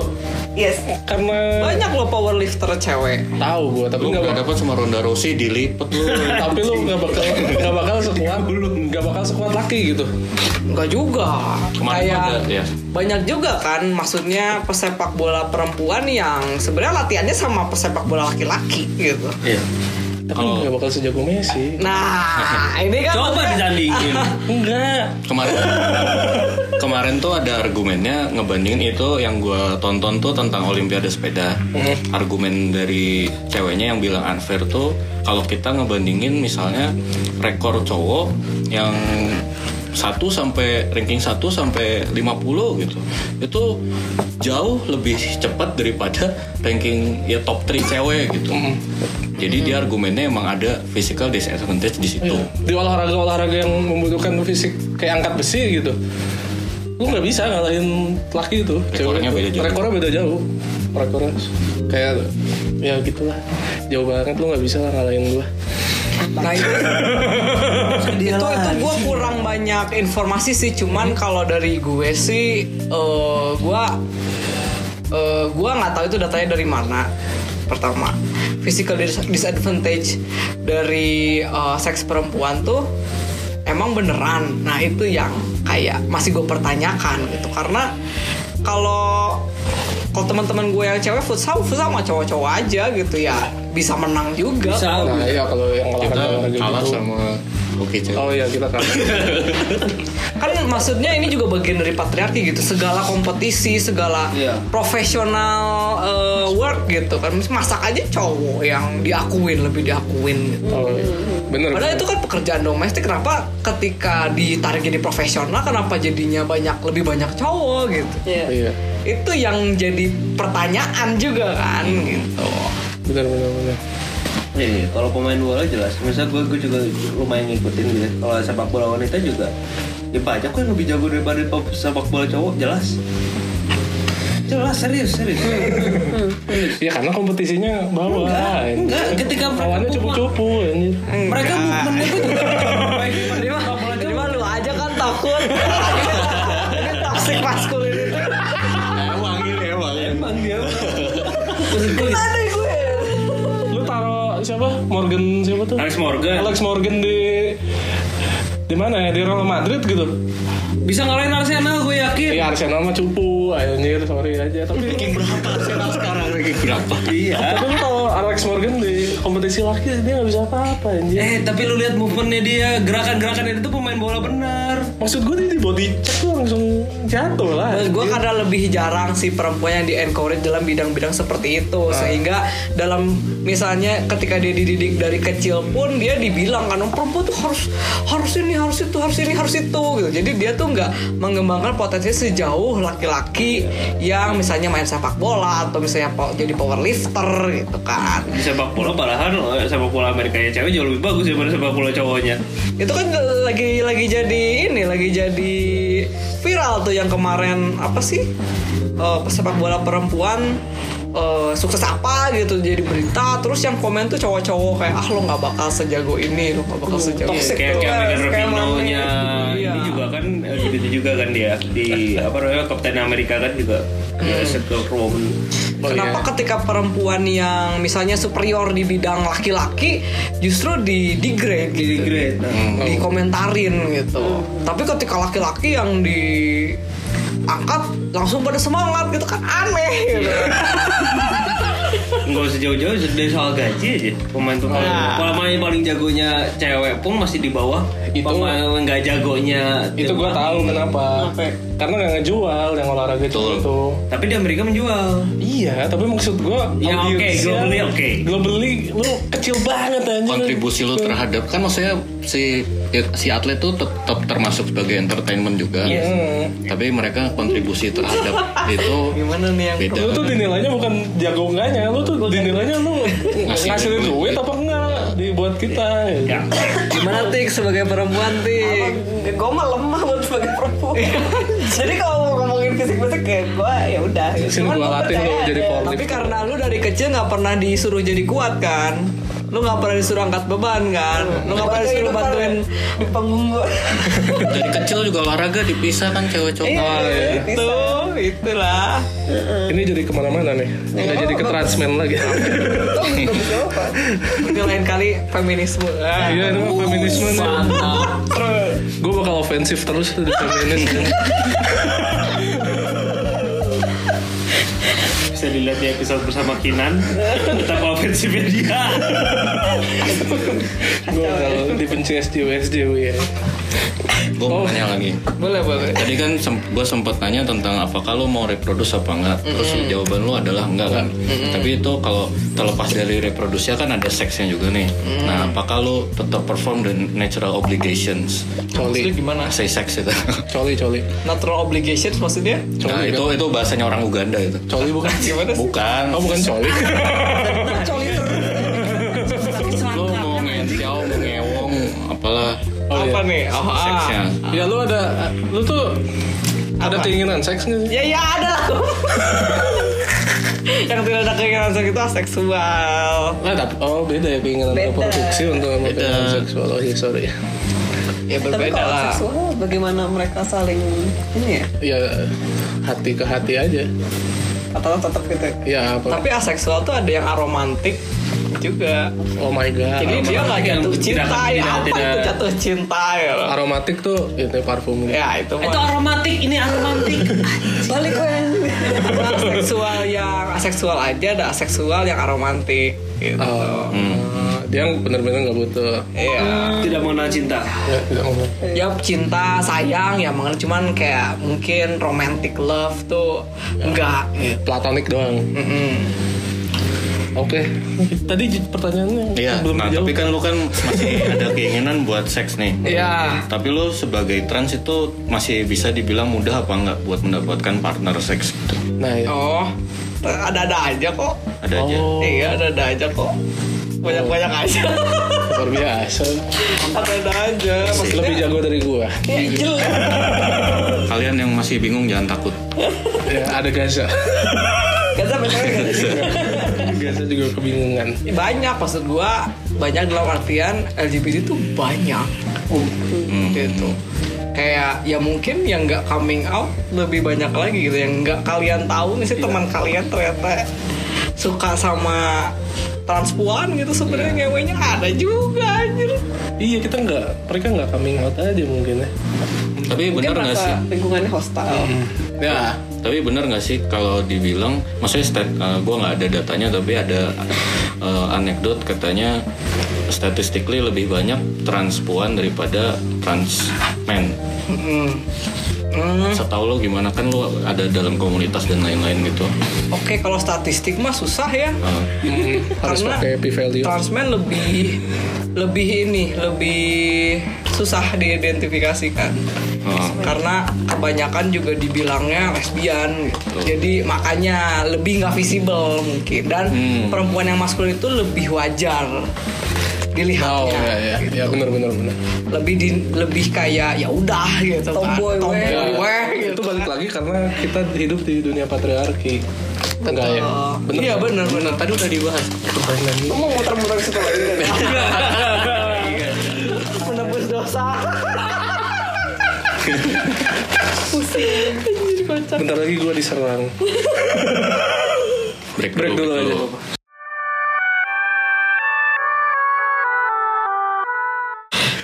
yes
karena
Banyak loh powerlifter cewek.
tahu gua tapi
lu
nggak
nggak
bakal
dapat sama Ronda Rousey dilipet
*laughs*
lu
tapi lu nggak bakal nggak bakal sekuat nggak bakal sekuat laki gitu.
Enggak juga.
Kemarin
Kayak
ada, ya.
banyak juga kan maksudnya pesepak bola perempuan yang sebenarnya latihannya sama pesepak bola laki-laki gitu.
iya
Tapi
Kalau-
nggak bakal sejago Messi.
Nah, ini kan
coba
maksudnya-
disandingin
Enggak.
kemarin kemarin tuh ada argumennya ngebandingin itu yang gua tonton tuh tentang olimpiade sepeda argumen dari ceweknya yang bilang unfair tuh kalau kita ngebandingin misalnya rekor cowok yang 1 sampai ranking 1 sampai 50 gitu. Itu jauh lebih cepat daripada ranking ya top 3 cewek gitu. Jadi dia argumennya emang ada physical disadvantage di situ.
di olahraga-olahraga yang membutuhkan fisik kayak angkat besi gitu lu nggak bisa ngalahin laki itu cewek
Rekornya
itu.
beda jauh.
rekornya beda jauh rekornya kayak ya gitulah jauh banget lu nggak bisa lah ngalahin gua
Nah, itu, itu itu gue kurang banyak informasi sih, cuman kalau dari gue sih, eh gue eh, gue nggak tahu itu datanya dari mana. Pertama, physical dis- disadvantage dari eh, seks perempuan tuh emang beneran. Nah itu yang kayak masih gue pertanyakan gitu, karena kalau kalau teman-teman gue yang cewek futsal futsal sama cowok-cowok aja gitu ya bisa menang juga
Bisa.
nah iya kalau yang
Kita
olahraga-olahraga
kalah
gitu
sama Oke cewek.
oh iya kita kalah
kan maksudnya ini juga bagian dari patriarki gitu segala kompetisi segala
Iya.
profesional eh, work gitu kan masak aja cowok yang diakuin lebih diakuin gitu.
oh, iya. bener
Padahal itu kan pekerjaan domestik kenapa ketika ditarik jadi profesional kenapa jadinya banyak lebih banyak cowok gitu
iya
itu yang jadi pertanyaan juga kan gitu
bener bener bener
Iya, iya. kalau pemain bola jelas. Misal gue, gue juga lumayan ngikutin gitu. Kalau sepak bola wanita juga, ya banyak kok yang lebih jago daripada pe- sepak bola cowok jelas. Jelas serius serius.
ya karena kompetisinya bawah
Enggak,
anjir.
enggak. Ketika mereka
lawannya
puma-
cupu-cupu anjir
Mereka bukan itu juga.
*laughs* Jadi mah, jadi mah lu aja kan takut Ini toxic masculinity
Emang ini emang.
Emang dia.
Tadi gue
lu taruh siapa Morgan siapa tuh
Alex Morgan
Alex Morgan di di mana ya di Real Madrid gitu
bisa ngalahin Arsenal gue yakin.
Iya Arsenal mah cupu anjir sorry aja tapi
Ranking berapa Arsenal sekarang? Ranking berapa?
Iya.
tapi lu tau
*laughs*
Alex Morgan di kompetisi laki dia nggak bisa apa-apa
Iya.
anjir
Eh tapi lu lihat movementnya dia, gerakan-gerakannya dia tuh pemain bola benar.
maksud gue dia di body check tuh langsung jatuh lah
Terus
Iya.
gue karena lebih jarang sih perempuan yang di encourage dalam bidang-bidang seperti itu
Ah.
sehingga dalam misalnya ketika dia dididik dari kecil pun dia dibilang kan "Oh, perempuan tuh harus harus ini harus itu harus ini harus itu gitu jadi dia tuh nggak mengembangkan potensi sejauh laki-laki
Iya.
yang misalnya main sepak bola atau misalnya po- jadi powerlifter gitu kan
Di sepak bola malahan eh, sepak bola Amerika ya cewek jauh lebih bagus daripada sepak bola cowoknya.
itu kan lagi lagi jadi ini lagi jadi viral tuh yang kemarin apa sih Eh, pesepak bola perempuan eh, sukses apa gitu jadi berita terus yang komen tuh cowok-cowok kayak ah lo nggak bakal sejago ini lo nggak bakal sejago
Iya,
ini."
kayak kayak Megan Rapinoe-nya
Iya.
ini juga kan eh, gitu juga kan dia di apa namanya Kapten Amerika kan juga ya circle woman
Kenapa ketika perempuan yang misalnya superior di bidang laki-laki justru di degrade gitu.
di grade nah.
dikomentarin gitu. Tapi ketika laki-laki yang diangkat langsung pada semangat gitu kan aneh gitu.
nggak usah jauh-jauh dari soal gaji aja pemain pemain kalau main paling jagonya cewek pun masih di bawah
Itu-
pemain nggak jagonya
itu gue tahu
Iya.
kenapa karena nggak ngejual yang olahraga itu
Betul.
itu
tapi di Amerika menjual
iya tapi maksud gue
Ya, oke, globally oke.
globally lu kecil banget anjir
kontribusi lu terhadap kan maksudnya si ya, si atlet tuh tetap termasuk sebagai entertainment juga.
Iya
Hmm.
Tapi mereka kontribusi
*laughs*
terhadap itu
Gimana nih yang
beda.
lu tuh dinilainya bukan jago enggaknya lu tuh dinilainya lu
Ngasih
ngasilin
duit.
duit apa enggak dibuat kita gitu.
ya
gimana tik sebagai perempuan tik?
Iya.
gue mah lemah buat sebagai perempuan jadi kalau mau ngomongin fisik fisik kayak gue ya udah
sini gua latih lu jadi
Tapi
powerlifter
karena lu dari kecil nggak pernah disuruh jadi kuat kan? Lu nggak pernah disuruh angkat beban kan? Lu nggak pernah disuruh bantuin
di panggung gue
Dari kecil juga olahraga dipisah kan cewek
Oh,
cowok.
Iya,
iya.
itu, itulah.
ini jadi kemana-mana nih nggak jadi ke transmen lagi
Mungkin lain kali feminisme. Ah.
iya ini mah feminisme nih gue bakal ofensif terus tuh di feminis *laughs*
bisa dilihat di episode bersama Kinan *laughs* betapa ofensifnya dia
ya. gue bakal dibenci SJW SJW ya
gue mau nanya lagi.
Eh, oh. Boleh, boleh.
Tadi kan gue sempat nanya tentang apakah lo mau reproduce apa enggak. Terus jawaban lo adalah enggak kan. Tapi itu kalau terlepas dari reproduksi kan ada seksnya juga nih. Nah, apakah lo tetap perform the natural obligations? Nah,
Maksudnya
Coli,
gimana?
Say sex itu. *laughs*
coli, coli,
Natural obligations maksudnya?
nah, itu itu bahasanya orang Uganda itu.
coli bukan?
Gimana sih?
Bukan.
Oh bukan *laughs* coli.
Lo mau ngentiau, mau ngewong, apalah
Oh,
apa
iya.
nih? Oh, ah.
seksnya.
Ya lu ada, lu tuh ada keinginan seks nggak sih?
Ya ya ada lah. *laughs* Yang tidak ada keinginan seks itu aseksual.
Nah, tapi oh beda ya keinginan
Beda.
reproduksi untuk sama
Beda.
keinginan seksual. Oh iya sorry.
Ya
Tapi
berbeda
kalau
lah.
seksual bagaimana mereka saling ini ya?
Ya hati ke hati aja.
Atau tetap gitu ya?
Ya apa?
Tapi aseksual tuh ada yang aromantik juga.
Oh my god.
Jadi dia nggak jatuh cinta ya apa itu jatuh cinta ya? loh?
Aromatik tuh itu parfum.
Ya itu mah.
Itu aromatik, ini
*laughs*
aromatik.
Balik gue.
Ada aseksual yang aseksual aja ada aseksual yang aromantik
Ah.
gitu.
Oh, dia benar-benar nggak butuh.
Iya.
Tidak mau nahan cinta.
Ya, tidak ngomong.
Ya cinta sayang ya mengenai cuman kayak mungkin romantic love tuh
Ya.
enggak gitu.
Iya, Platonik doang.
Mm-mm.
Oke. Tadi j- pertanyaannya
Iya,
belum
nah
dijawab.
tapi kan lu kan masih ada keinginan buat seks nih.
Iya.
Tapi lu sebagai trans itu masih bisa dibilang mudah apa enggak buat mendapatkan partner seks? gitu?
Nah, ya.
Oh, ada-ada aja kok.
Ada aja.
Oh.
Iya, ada-ada aja kok. Banyak-banyak
*laughs*
aja.
luar biasa.
ada-ada aja. Maksudnya,
Lebih jago dari gua.
ya, jelas.
Kalian yang masih bingung jangan takut.
Ya, ada Gaza.
Kata bener-bener gak
*laughs*
sih?
Gaza juga kebingungan.
banyak maksud gua banyak dalam artian LGBT tuh banyak Uh,
Hmm.
gitu kayak ya mungkin yang nggak coming out lebih banyak lagi gitu yang nggak kalian tahu nih
Iya.
sih teman kalian ternyata suka sama transpuan gitu
Iya.
sebenarnya ngewenya ada juga anjir
Iya, kita nggak, mereka nggak coming out aja mungkin ya.
Tapi
Mungkin
benar nggak sih? Hmm.
merasa lingkungannya hostile.
Ya,
Tapi benar nggak sih kalau dibilang, maksudnya stat, gue nggak ada datanya, tapi ada eh, anekdot katanya statistically lebih banyak transpuan daripada trans men.
Mm. Mm.
Setahu lo gimana kan lo ada dalam komunitas dan lain-lain gitu.
oke kalau statistik mah susah ya
Eh,
harus
Karena
pakai p-value.
Transmen lebih lebih ini lebih susah diidentifikasikan
Oh.
karena kebanyakan juga dibilangnya lesbian gitu. jadi makanya lebih nggak visible mungkin dan
Hmm.
perempuan yang maskulin itu lebih wajar
Oh,
dilihatnya
ya, ya, ya benar-benar benar.
lebih di- lebih kayak ya udah gitu kan.
Tomboy, weh.
Ya,
weh, gitu
itu
kan.
balik lagi karena kita hidup di dunia patriarki. Enggak ya? Bener,
iya
kan?
benar benar tadi udah dibahas
Lu mau muter-muter ke
*laughs*
situ lagi kan?
menebus dosa
Bentar lagi gua diserang.
break,
Break dulu aja.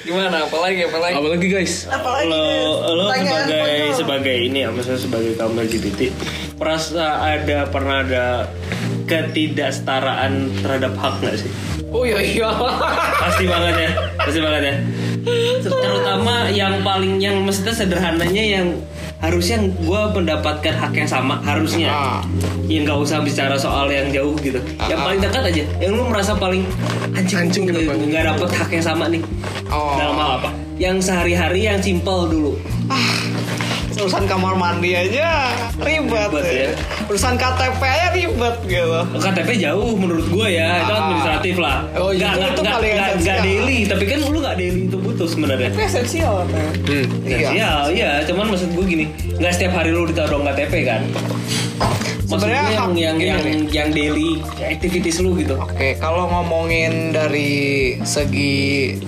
gimana apalagi apalagi
Apalagi guys,
Kalau lo sebagai sebagai ini ya, maksudnya sebagai kaum LGBT, merasa ada pernah ada ketidaksetaraan terhadap hak nggak sih?
oh iya iya
pasti banget ya pasti banget ya terutama yang paling yang maksudnya sederhananya yang harusnya gue mendapatkan hak yang sama
Ah.
harusnya yang nggak usah bicara soal yang jauh gitu yang paling dekat aja yang lu merasa paling anjing
Anjing,
gua
kenapa?
nggak dapet hak yang sama nih
Oh.
dalam hal apa yang sehari-hari yang simpel dulu
urusan kamar mandi aja ribet,
Ribet,
ya.
ya.
urusan KTP aja ribet gitu
KTP jauh menurut gue ya itu
Ah.
administratif lah
Oh, itu-
nggak
itu
nggak
paling
nggak nggak
esensial.
daily tapi kan lu nggak daily itu butuh sebenarnya
Itu esensial katanya.
Iya,
iya
iya, cuman maksud gue gini, nggak setiap hari lu ditodong KTP kan? Maksudnya
Sebenarnya
yang
hak- Iya, ya.
yang
gini
yang,
nih.
yang daily activities lu gitu.
Oke, kalau ngomongin dari segi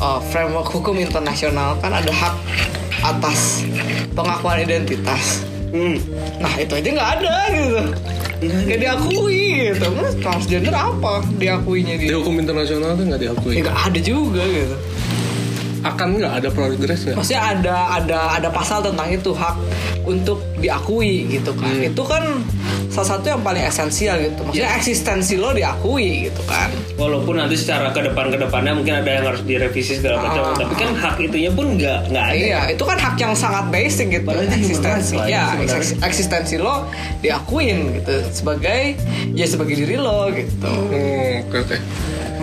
uh, framework hukum internasional kan ada hak atas pengakuan identitas.
Hmm.
Nah itu aja nggak ada gitu. Gak diakui gitu. Terus transgender apa diakuinya
di
dia?
hukum internasional tuh nggak diakui.
Ya nggak ada juga gitu.
Akan nggak ada progres ya?
Maksudnya ada ada ada pasal tentang itu hak untuk diakui gitu kan. Itu kan salah satu yang paling esensial gitu maksudnya eksistensi lo diakui gitu kan
Walaupun nanti secara ke depan ke depannya mungkin ada yang harus direvisi segala macam,
Ah.
tapi kan hak itunya pun nggak nggak ada.
Iya, itu kan hak yang sangat basic gitu.
Padahal itu human
Eksistensi,
rights lah
ya,
itu sebenarnya.
eks- eksistensi lo diakuin gitu sebagai ya sebagai diri lo gitu.
Hmm, oke oke.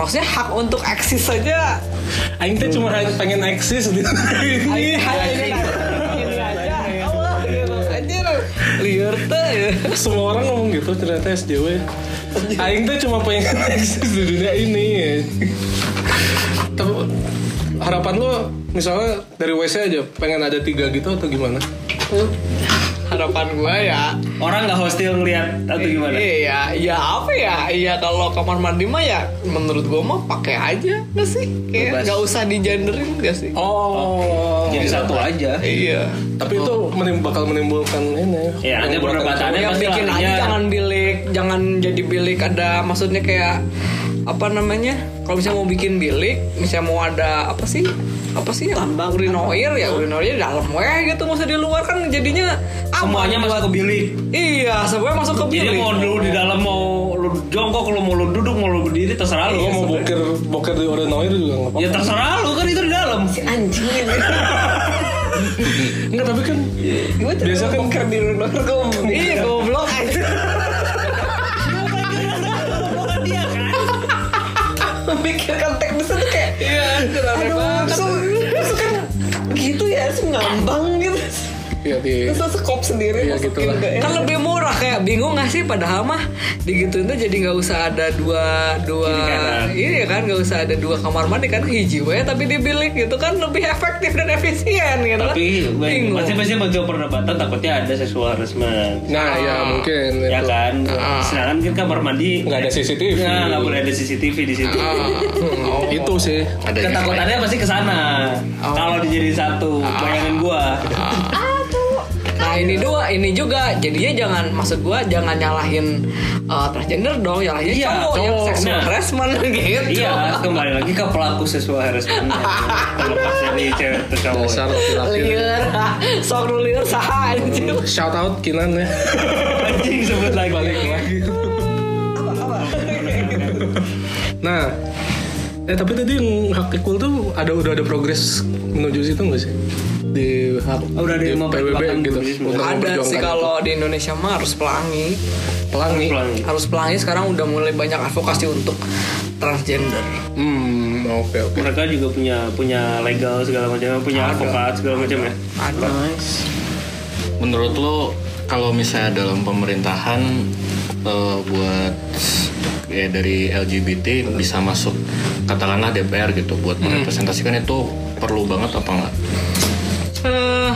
Maksudnya hak untuk eksis saja.
Aing teh cuma pengen eksis di
Iya.
Ini hanya ini aja. Ini aja. Allah, gitu. Anjir, liur teh. ya.
Semua orang ngomong gitu ternyata SJW. Aing teh cuma pengen *laughs* eksis di dunia ini. Tapi harapan lo misalnya dari WC aja pengen ada tiga gitu atau gimana?
Harapan gue ya
Orang nggak hostile ngelihat atau gimana?
Iya, ya apa ya? Iya kalau kamar mandi mah ya menurut gue mah pakai aja nggak sih? Kayak
Bebas.
nggak usah digenderin nggak sih?
Oh,
Jadi satu aja.
Iya.
tapi itu menim- bakal menimbulkan ini.
Ya, ada Iya.
menimbulkan-
perdebatannya
yang
pasti
bikin aja
larinya.
jangan bilik jangan jadi bilik ada maksudnya kayak apa namanya kalau misalnya mau bikin bilik misalnya mau ada apa sih apa sih lambang urinoir ya urinoir dalam weh gitu masa di luar kan jadinya aman
Semuanya masuk
buat-
ke bilik.
iya semuanya masuk ke bilik Iya,
Jadi mau lu di dalam mau lu jongkok, lu mau lu duduk, mau lu berdiri terserah
Lo
lu.
mau boker boker di Orenoir juga nggak apa-apa.
Ya terserah lu kan itu di dalam.
Anjing.
Enggak tapi kan biasa kan boker di Orenoir kok.
iya
*laughs*
goblok
Memikirkan teknis itu kayak
iya aneh banget
Aduh, itu kan gitu ya, terus ngambang gitu.
Iya di
Terus terus sekop sendiri
Iya,
masukin
gitulah.
ke
kan
Kan
lebih murah kayak bingung gak sih padahal mah digituin tuh jadi nggak usah ada dua dua
Kiri kanan.
iya kan nggak usah ada dua kamar mandi kan hiji we tapi di bilik gitu kan lebih efektif dan efisien gitu kan.
Tapi
bingung
pasti pasti muncul perdebatan takutnya ada seksual harassment.
Nah, ya mungkin
Ya
itu.
kan. Sedangkan kan kamar mandi
Nggak ada CCTV.
Ya, nggak boleh ada CCTV di situ.
Hmm, Itu sih.
Oh,
Ada
Ketakutannya pasti ke sana. Kalau dijadiin satu, bayangin gua.
nah ini dua ini juga jadinya jangan maksud gua jangan nyalahin uh, transgender dong nyalahin
Iya,
cowok, yang
cowok.
seksual
Nah.
harassment *laughs* gitu
Iya, kembali lagi ke pelaku sesuai harassment. Terlepas dari cewek atau cowok.
Dasar laki-laki.
liur *laughs* sok lu liur sah anjir
Shout out Kinan ya.
Anjing sebut lagi.
Nah, eh tapi tadi yang hak equal tuh ada udah ada progres menuju situ nggak sih? Di hak
Oh, udah ada
di
yang
PBB
memperjuangkan
gitu.
feminisme.
Untuk
ada
memperjuangkan
sih
itu.
kalau di Indonesia mah harus pelangi
pelangi.
Pelangi.
harus pelangi sekarang udah mulai banyak advokasi untuk transgender.
Hmm, oke oke.
Mereka juga punya punya legal segala macam, punya advokat segala macam ya.
Menurut lo kalau misalnya dalam pemerintahan eh, buat ya dari LGBT bisa masuk katakanlah DPR gitu buat merepresentasikan itu perlu banget apa enggak?
Eh,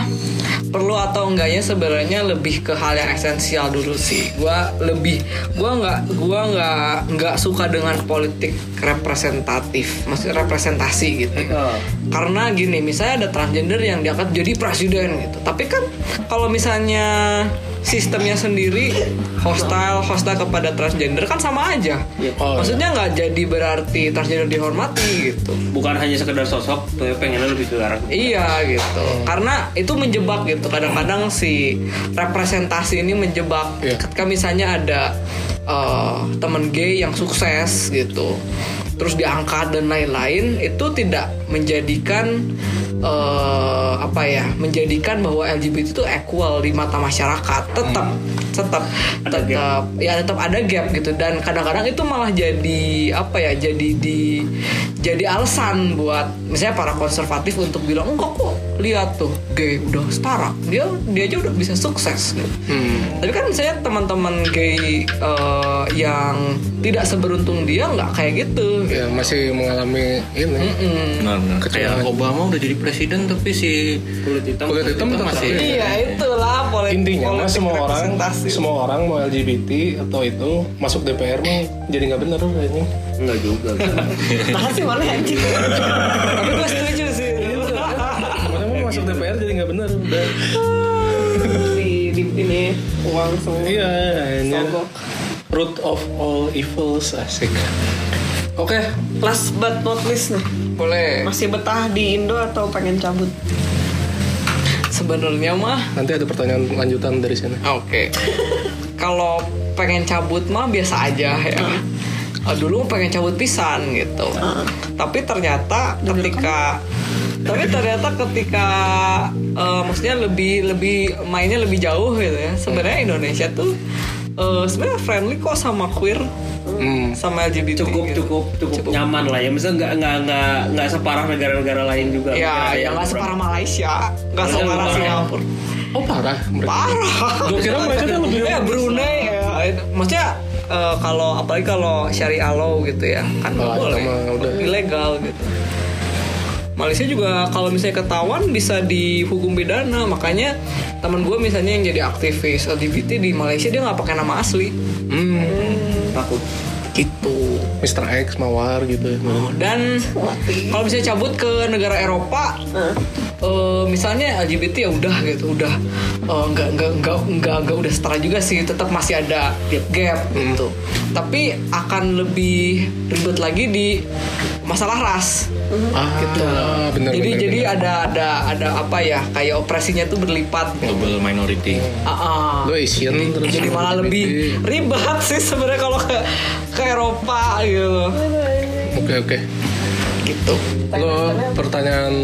perlu atau enggaknya sebenarnya lebih ke hal yang esensial dulu sih. Gua lebih gua nggak gua nggak nggak suka dengan politik representatif, maksudnya representasi gitu. Karena gini, misalnya ada transgender yang diangkat jadi presiden gitu. Tapi kan kalau misalnya sistemnya sendiri hostile hostile kepada transgender kan sama aja.
Oh,
Maksudnya nggak jadi berarti transgender dihormati gitu.
Bukan hanya sekedar sosok, tapi pengennya lebih ke arah
Iya gitu. Karena itu menjebak gitu. Kadang-kadang si representasi ini menjebak.
Iya.
Ketika misalnya ada eh, teman gay yang sukses gitu, terus diangkat dan lain-lain, itu tidak menjadikan eh, apa ya? Menjadikan bahwa LGBT itu equal di mata masyarakat. Tetap, tetap,
Ada
tetap tetap ya tetap ada gap gitu dan kadang-kadang itu malah jadi apa ya jadi di jadi alasan buat misalnya para konservatif untuk bilang enggak kok lihat tuh gay udah setara dia dia aja udah bisa sukses gitu. tapi kan misalnya teman-teman gay eh, yang tidak seberuntung dia nggak kayak gitu
Ya masih mengalami ini.
Mm.
Benar, benar.
Kecuali-
Kayak Obama udah jadi presiden tapi si
kulit hitam.
Kulit hitam
Kita
tetap
masih-
ada.
iya itulah politik
intinya mah
politik
semua orang
representasi.
semua orang mau LGBT atau itu masuk DPR mah jadi nggak bener kayaknya
Enggak juga.
makasih mana anjing.
tapi gue setuju sih
makanya mah masuk DPR jadi nggak bener udah
Di, di ini uang semua.
iya ini
Sogok.
root of all evils asik oke
Last but not least nih.
boleh
Masih betah di Indo atau pengen cabut?
sebenarnya mah
nanti ada pertanyaan lanjutan dari sana
Oke. Kalau pengen cabut mah biasa aja ya kan? Eh, dulu pengen cabut pisan gitu tapi ternyata ketika tapi ternyata ketika eh, maksudnya lebih lebih mainnya lebih jauh gitu ya sebenarnya Indonesia tuh eh, sebenarnya friendly kok sama queer sama LGBT
Hmm. cukup
gitu.
cukup cukup nyaman lah ya misalnya nggak nggak nggak nggak separah negara-negara lain juga
ya ya nggak separah Malaysia nggak
Padahal
separah
parah.
Singapura
Oh parah mereka.
parah
Gue kira mereka tuh lebih
ya Brunei ya itu. maksudnya eh, kalau apalagi kalau syariah law gitu ya kan nggak
Oh,
boleh
sama udah.
ilegal gitu Malaysia juga kalau misalnya ketahuan bisa dihukum pidana makanya teman gue misalnya yang jadi aktivis LGBT di Malaysia dia nggak pakai nama asli
Hmm,
takut
gitu
Mr. X mawar gitu.
dan
Mati.
kalau misalnya cabut ke negara Eropa eh, misalnya LGBT ya udah gitu udah eh, nggak nggak nggak nggak nggak udah setara juga sih tetap masih ada gap
Hmm.
gitu tapi akan lebih ribet lagi di masalah ras Nah,
Ah, gitu. Bener,
jadi
bener,
jadi
bener.
ada ada ada apa ya kayak opresinya tuh berlipat gitu.
double minority
Ah, ah.
Ya. Lu Asian terus
jadi malah lebih ribet sih sebenarnya kalau ke ke Eropa gitu
Hmm. Oke oke.
gitu
Lo pertanyaan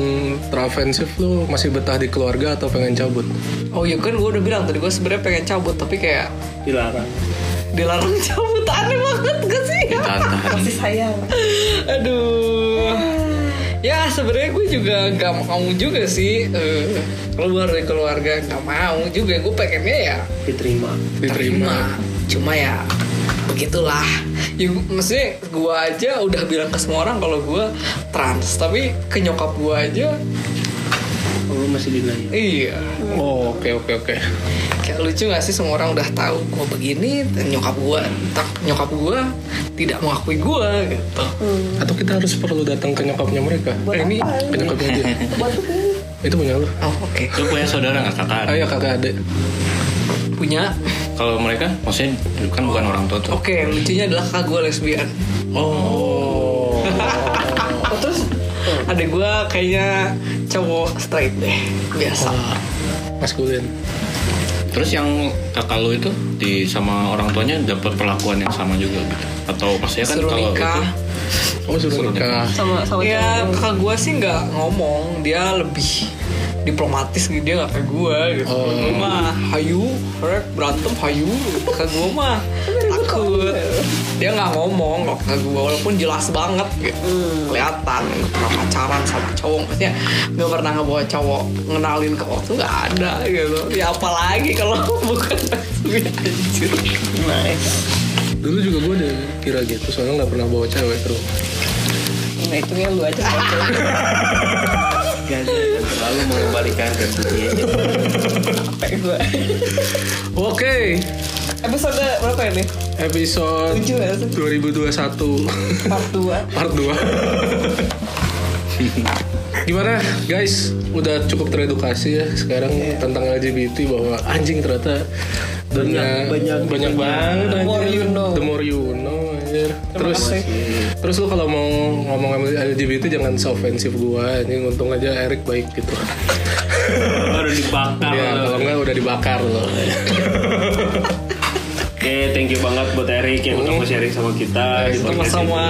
terofensif lu masih betah di keluarga atau pengen cabut?
oh ya kan gue udah bilang tadi gue sebenarnya pengen cabut tapi kayak
dilarang
dilarang *laughs* cabut aneh banget gak sih
Iya, tahan
Kasih sayang.
*laughs* aduh ya sebenarnya gue juga gak mau juga sih eh, keluar dari keluarga gak mau juga gue pengennya ya
diterima
Diterima.
cuma ya begitulah ya, gu- maksudnya gue aja udah bilang ke semua orang kalau gue trans tapi ke nyokap gue aja
kalau Oh, masih denial
iya
Oh oke oke oke.
kayak lucu gak sih semua orang udah tahu gue begini dan nyokap gue nyokap gue tidak mengakui gue gitu
Hmm.
Atau kita harus perlu datang ke nyokapnya mereka?
Eh, ini
Ke nyokapnya dia.
Buat tuh ini.
Itu punya lu.
oh oke
lu punya saudara nggak kakak
Ayo kakak adik.
punya
kalau mereka maksudnya kan bukan orang tua tuh
Oke, lucunya adalah kakak gue lesbian.
Oh.
*laughs* Oh, terus ada gue kayaknya cowok straight deh, biasa.
Oh.
Maskulin.
terus yang kakak lu itu di sama orang tuanya dapat perlakuan yang sama juga gitu atau maksudnya kan
Suruh
kalau
nikah.
itu
Oh suruh
Suruh
nikah.
Sama sama
ya
cowok.
kakak gue sih nggak ngomong, dia lebih diplomatis gitu dia nggak kayak gue gitu.
Oh.
Gue mah hayu, rek berantem hayu. Kakak gue mah takut. Dia nggak ngomong kalau kakak gue walaupun jelas banget gitu.
Hmm.
Kelihatan nggak pernah pacaran sama cowok, maksudnya nggak pernah ngebawa cowok ngenalin ke waktu nggak ada gitu. Ya apalagi kalau *laughs* bukan lesbian anjir.
Nah,
Dulu juga gue udah kira gitu soalnya nggak pernah bawa cewek ke rumah.
Nah, itu yang lu aja.
Gak ada yang selalu mengembalikan ke dunia
Capek gue.
Oke.
Episode berapa ini?
Episode
Tujuh ya, tujuh.
2021
Part 2.
*laughs* part 2 Gimana guys, udah cukup teredukasi ya sekarang
Iya.
tentang LGBT bahwa anjing ternyata dunia-
banyak,
banyak banget
The more
anjir.
you know.
The more you know, anjir. Terus terus lu kalau mau ngomong LGBT jangan seofensif gua anjing untung aja Erik baik gitu.
baru dibakar
Iya,
ya kalau enggak udah dibakar loh.
Oke, thank you banget buat Erik yang udah mau sharing sama kita di podcast
Iya. Sama-sama.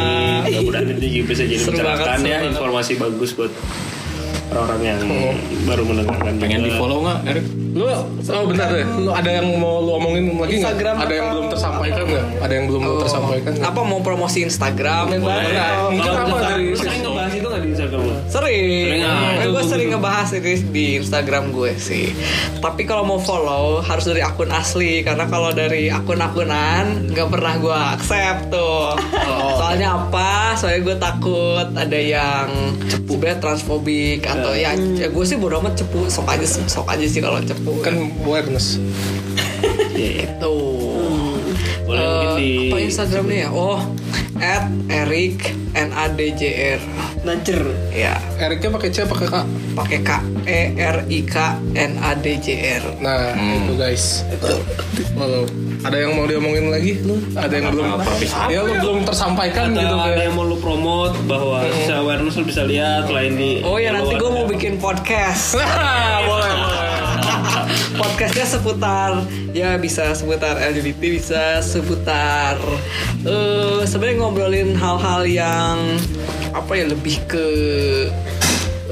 ini. Mudah-mudahan ini juga bisa jadi
Seru banget,
pencerahan
seru
ya,
banget. Oh.
informasi bagus buat orang-orang yang baru mendengarkan.
pengen
juga.
di follow nggak Erik
Lu oh bentar deh, lu ada yang mau lu omongin lagi nggak?
Instagram
Ada yang
atau-
belum tersampaikan nggak? Ada yang belum tersampaikan nggak?
Apa mau promosi Instagram? Boleh.
Mungkin
Kalau
apa
kita-
dari
sering ngebahas itu nggak di Instagram lo?
Sering.
Sering, ah,
Kan
itu
gue
gua
sering
juga.
ngebahas ini di Instagram gue sih. Tapi kalau mau follow harus dari akun asli karena kalau dari akun-akunan nggak pernah gue accept
Oh,
tuh. soalnya apa? Soalnya gue takut ada yang cepu transfobik
Nah.
atau ya, ya gue sih bodo amat cepu sok aja sok aja sih kalau cepu
kan awareness
Iya, iya.
tuh.
Hmm, Boleh mungkin
Eh,
di
apa Instagramnya ya? Oh, at Eric N A D J R.
Nacer.
Ya,
Eriknya pakai C pakai K
pakai K E R I K N A D J R.
nah itu guys Walau ada yang mau diomongin lagi lu ada yang belum ya lu belum tersampaikan gitu
atau ada
kayak
yang mau lo promote bahwa bisa awareness lo bisa lihat lain di
Oh ya nanti gue
follow
mau
ada-
Nah,
bikin podcast.
Hahaha, boleh boleh
podcastnya seputar ya bisa seputar LGBT bisa seputar eh sebenarnya ngobrolin hal-hal yang apa ya lebih ke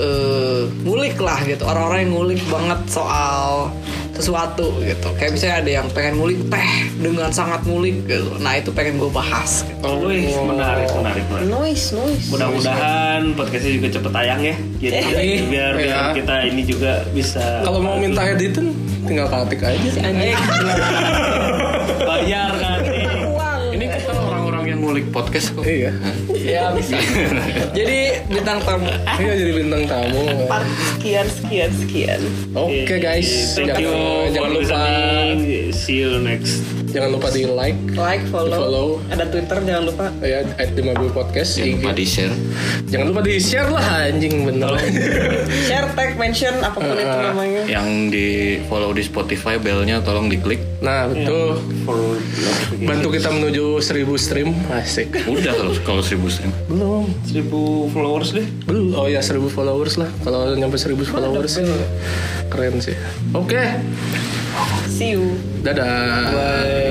eh ngulik lah gitu orang-orang yang ngulik banget soal sesuatu gitu kayak misalnya ada yang pengen ngulik teh dengan sangat ngulik gitu nah itu pengen gue bahas gitu.
Wih, iya, menarik, menarik, menarik.
Noise, noise.
Mudah-mudahan podcastnya juga cepet tayang ya. Jadi
Amin.
biar
Iya.
biar kita ini juga bisa
Kalau mau minta editin, tinggal ketik aja.
Anjing.
bayar *laughs* nanti.
Uang.
Ini kita orang-orang yang ngulik podcast kok.
Iya.
ya bisa jadi bintang tamu
Iya jadi bintang tamu.
Part sekian, sekian, sekian.
Oke guys,
Oh. Thank
jangan, jangan
you for
lupa
listening. See you next.
jangan lupa di like
Like, follow.
Follow.
Ada Twitter jangan lupa.
ya at di mobil podcast.
Jangan lupa
IG.
di share.
Jangan lupa di share lah anjing bener.
Share, tag, mention, apapun itu namanya.
Yang di follow di Spotify belnya tolong diklik.
*laughs* Nah betul.
For
Bantu kita menuju 1000 stream asik.
Udah kalau kalau seribu stream.
Belum.
1000 followers deh.
Belum. Oh ya 1000 followers lah. Kalau nyampe 1000 followers keren sih. Oke.
See you.
Dadah.
Bye.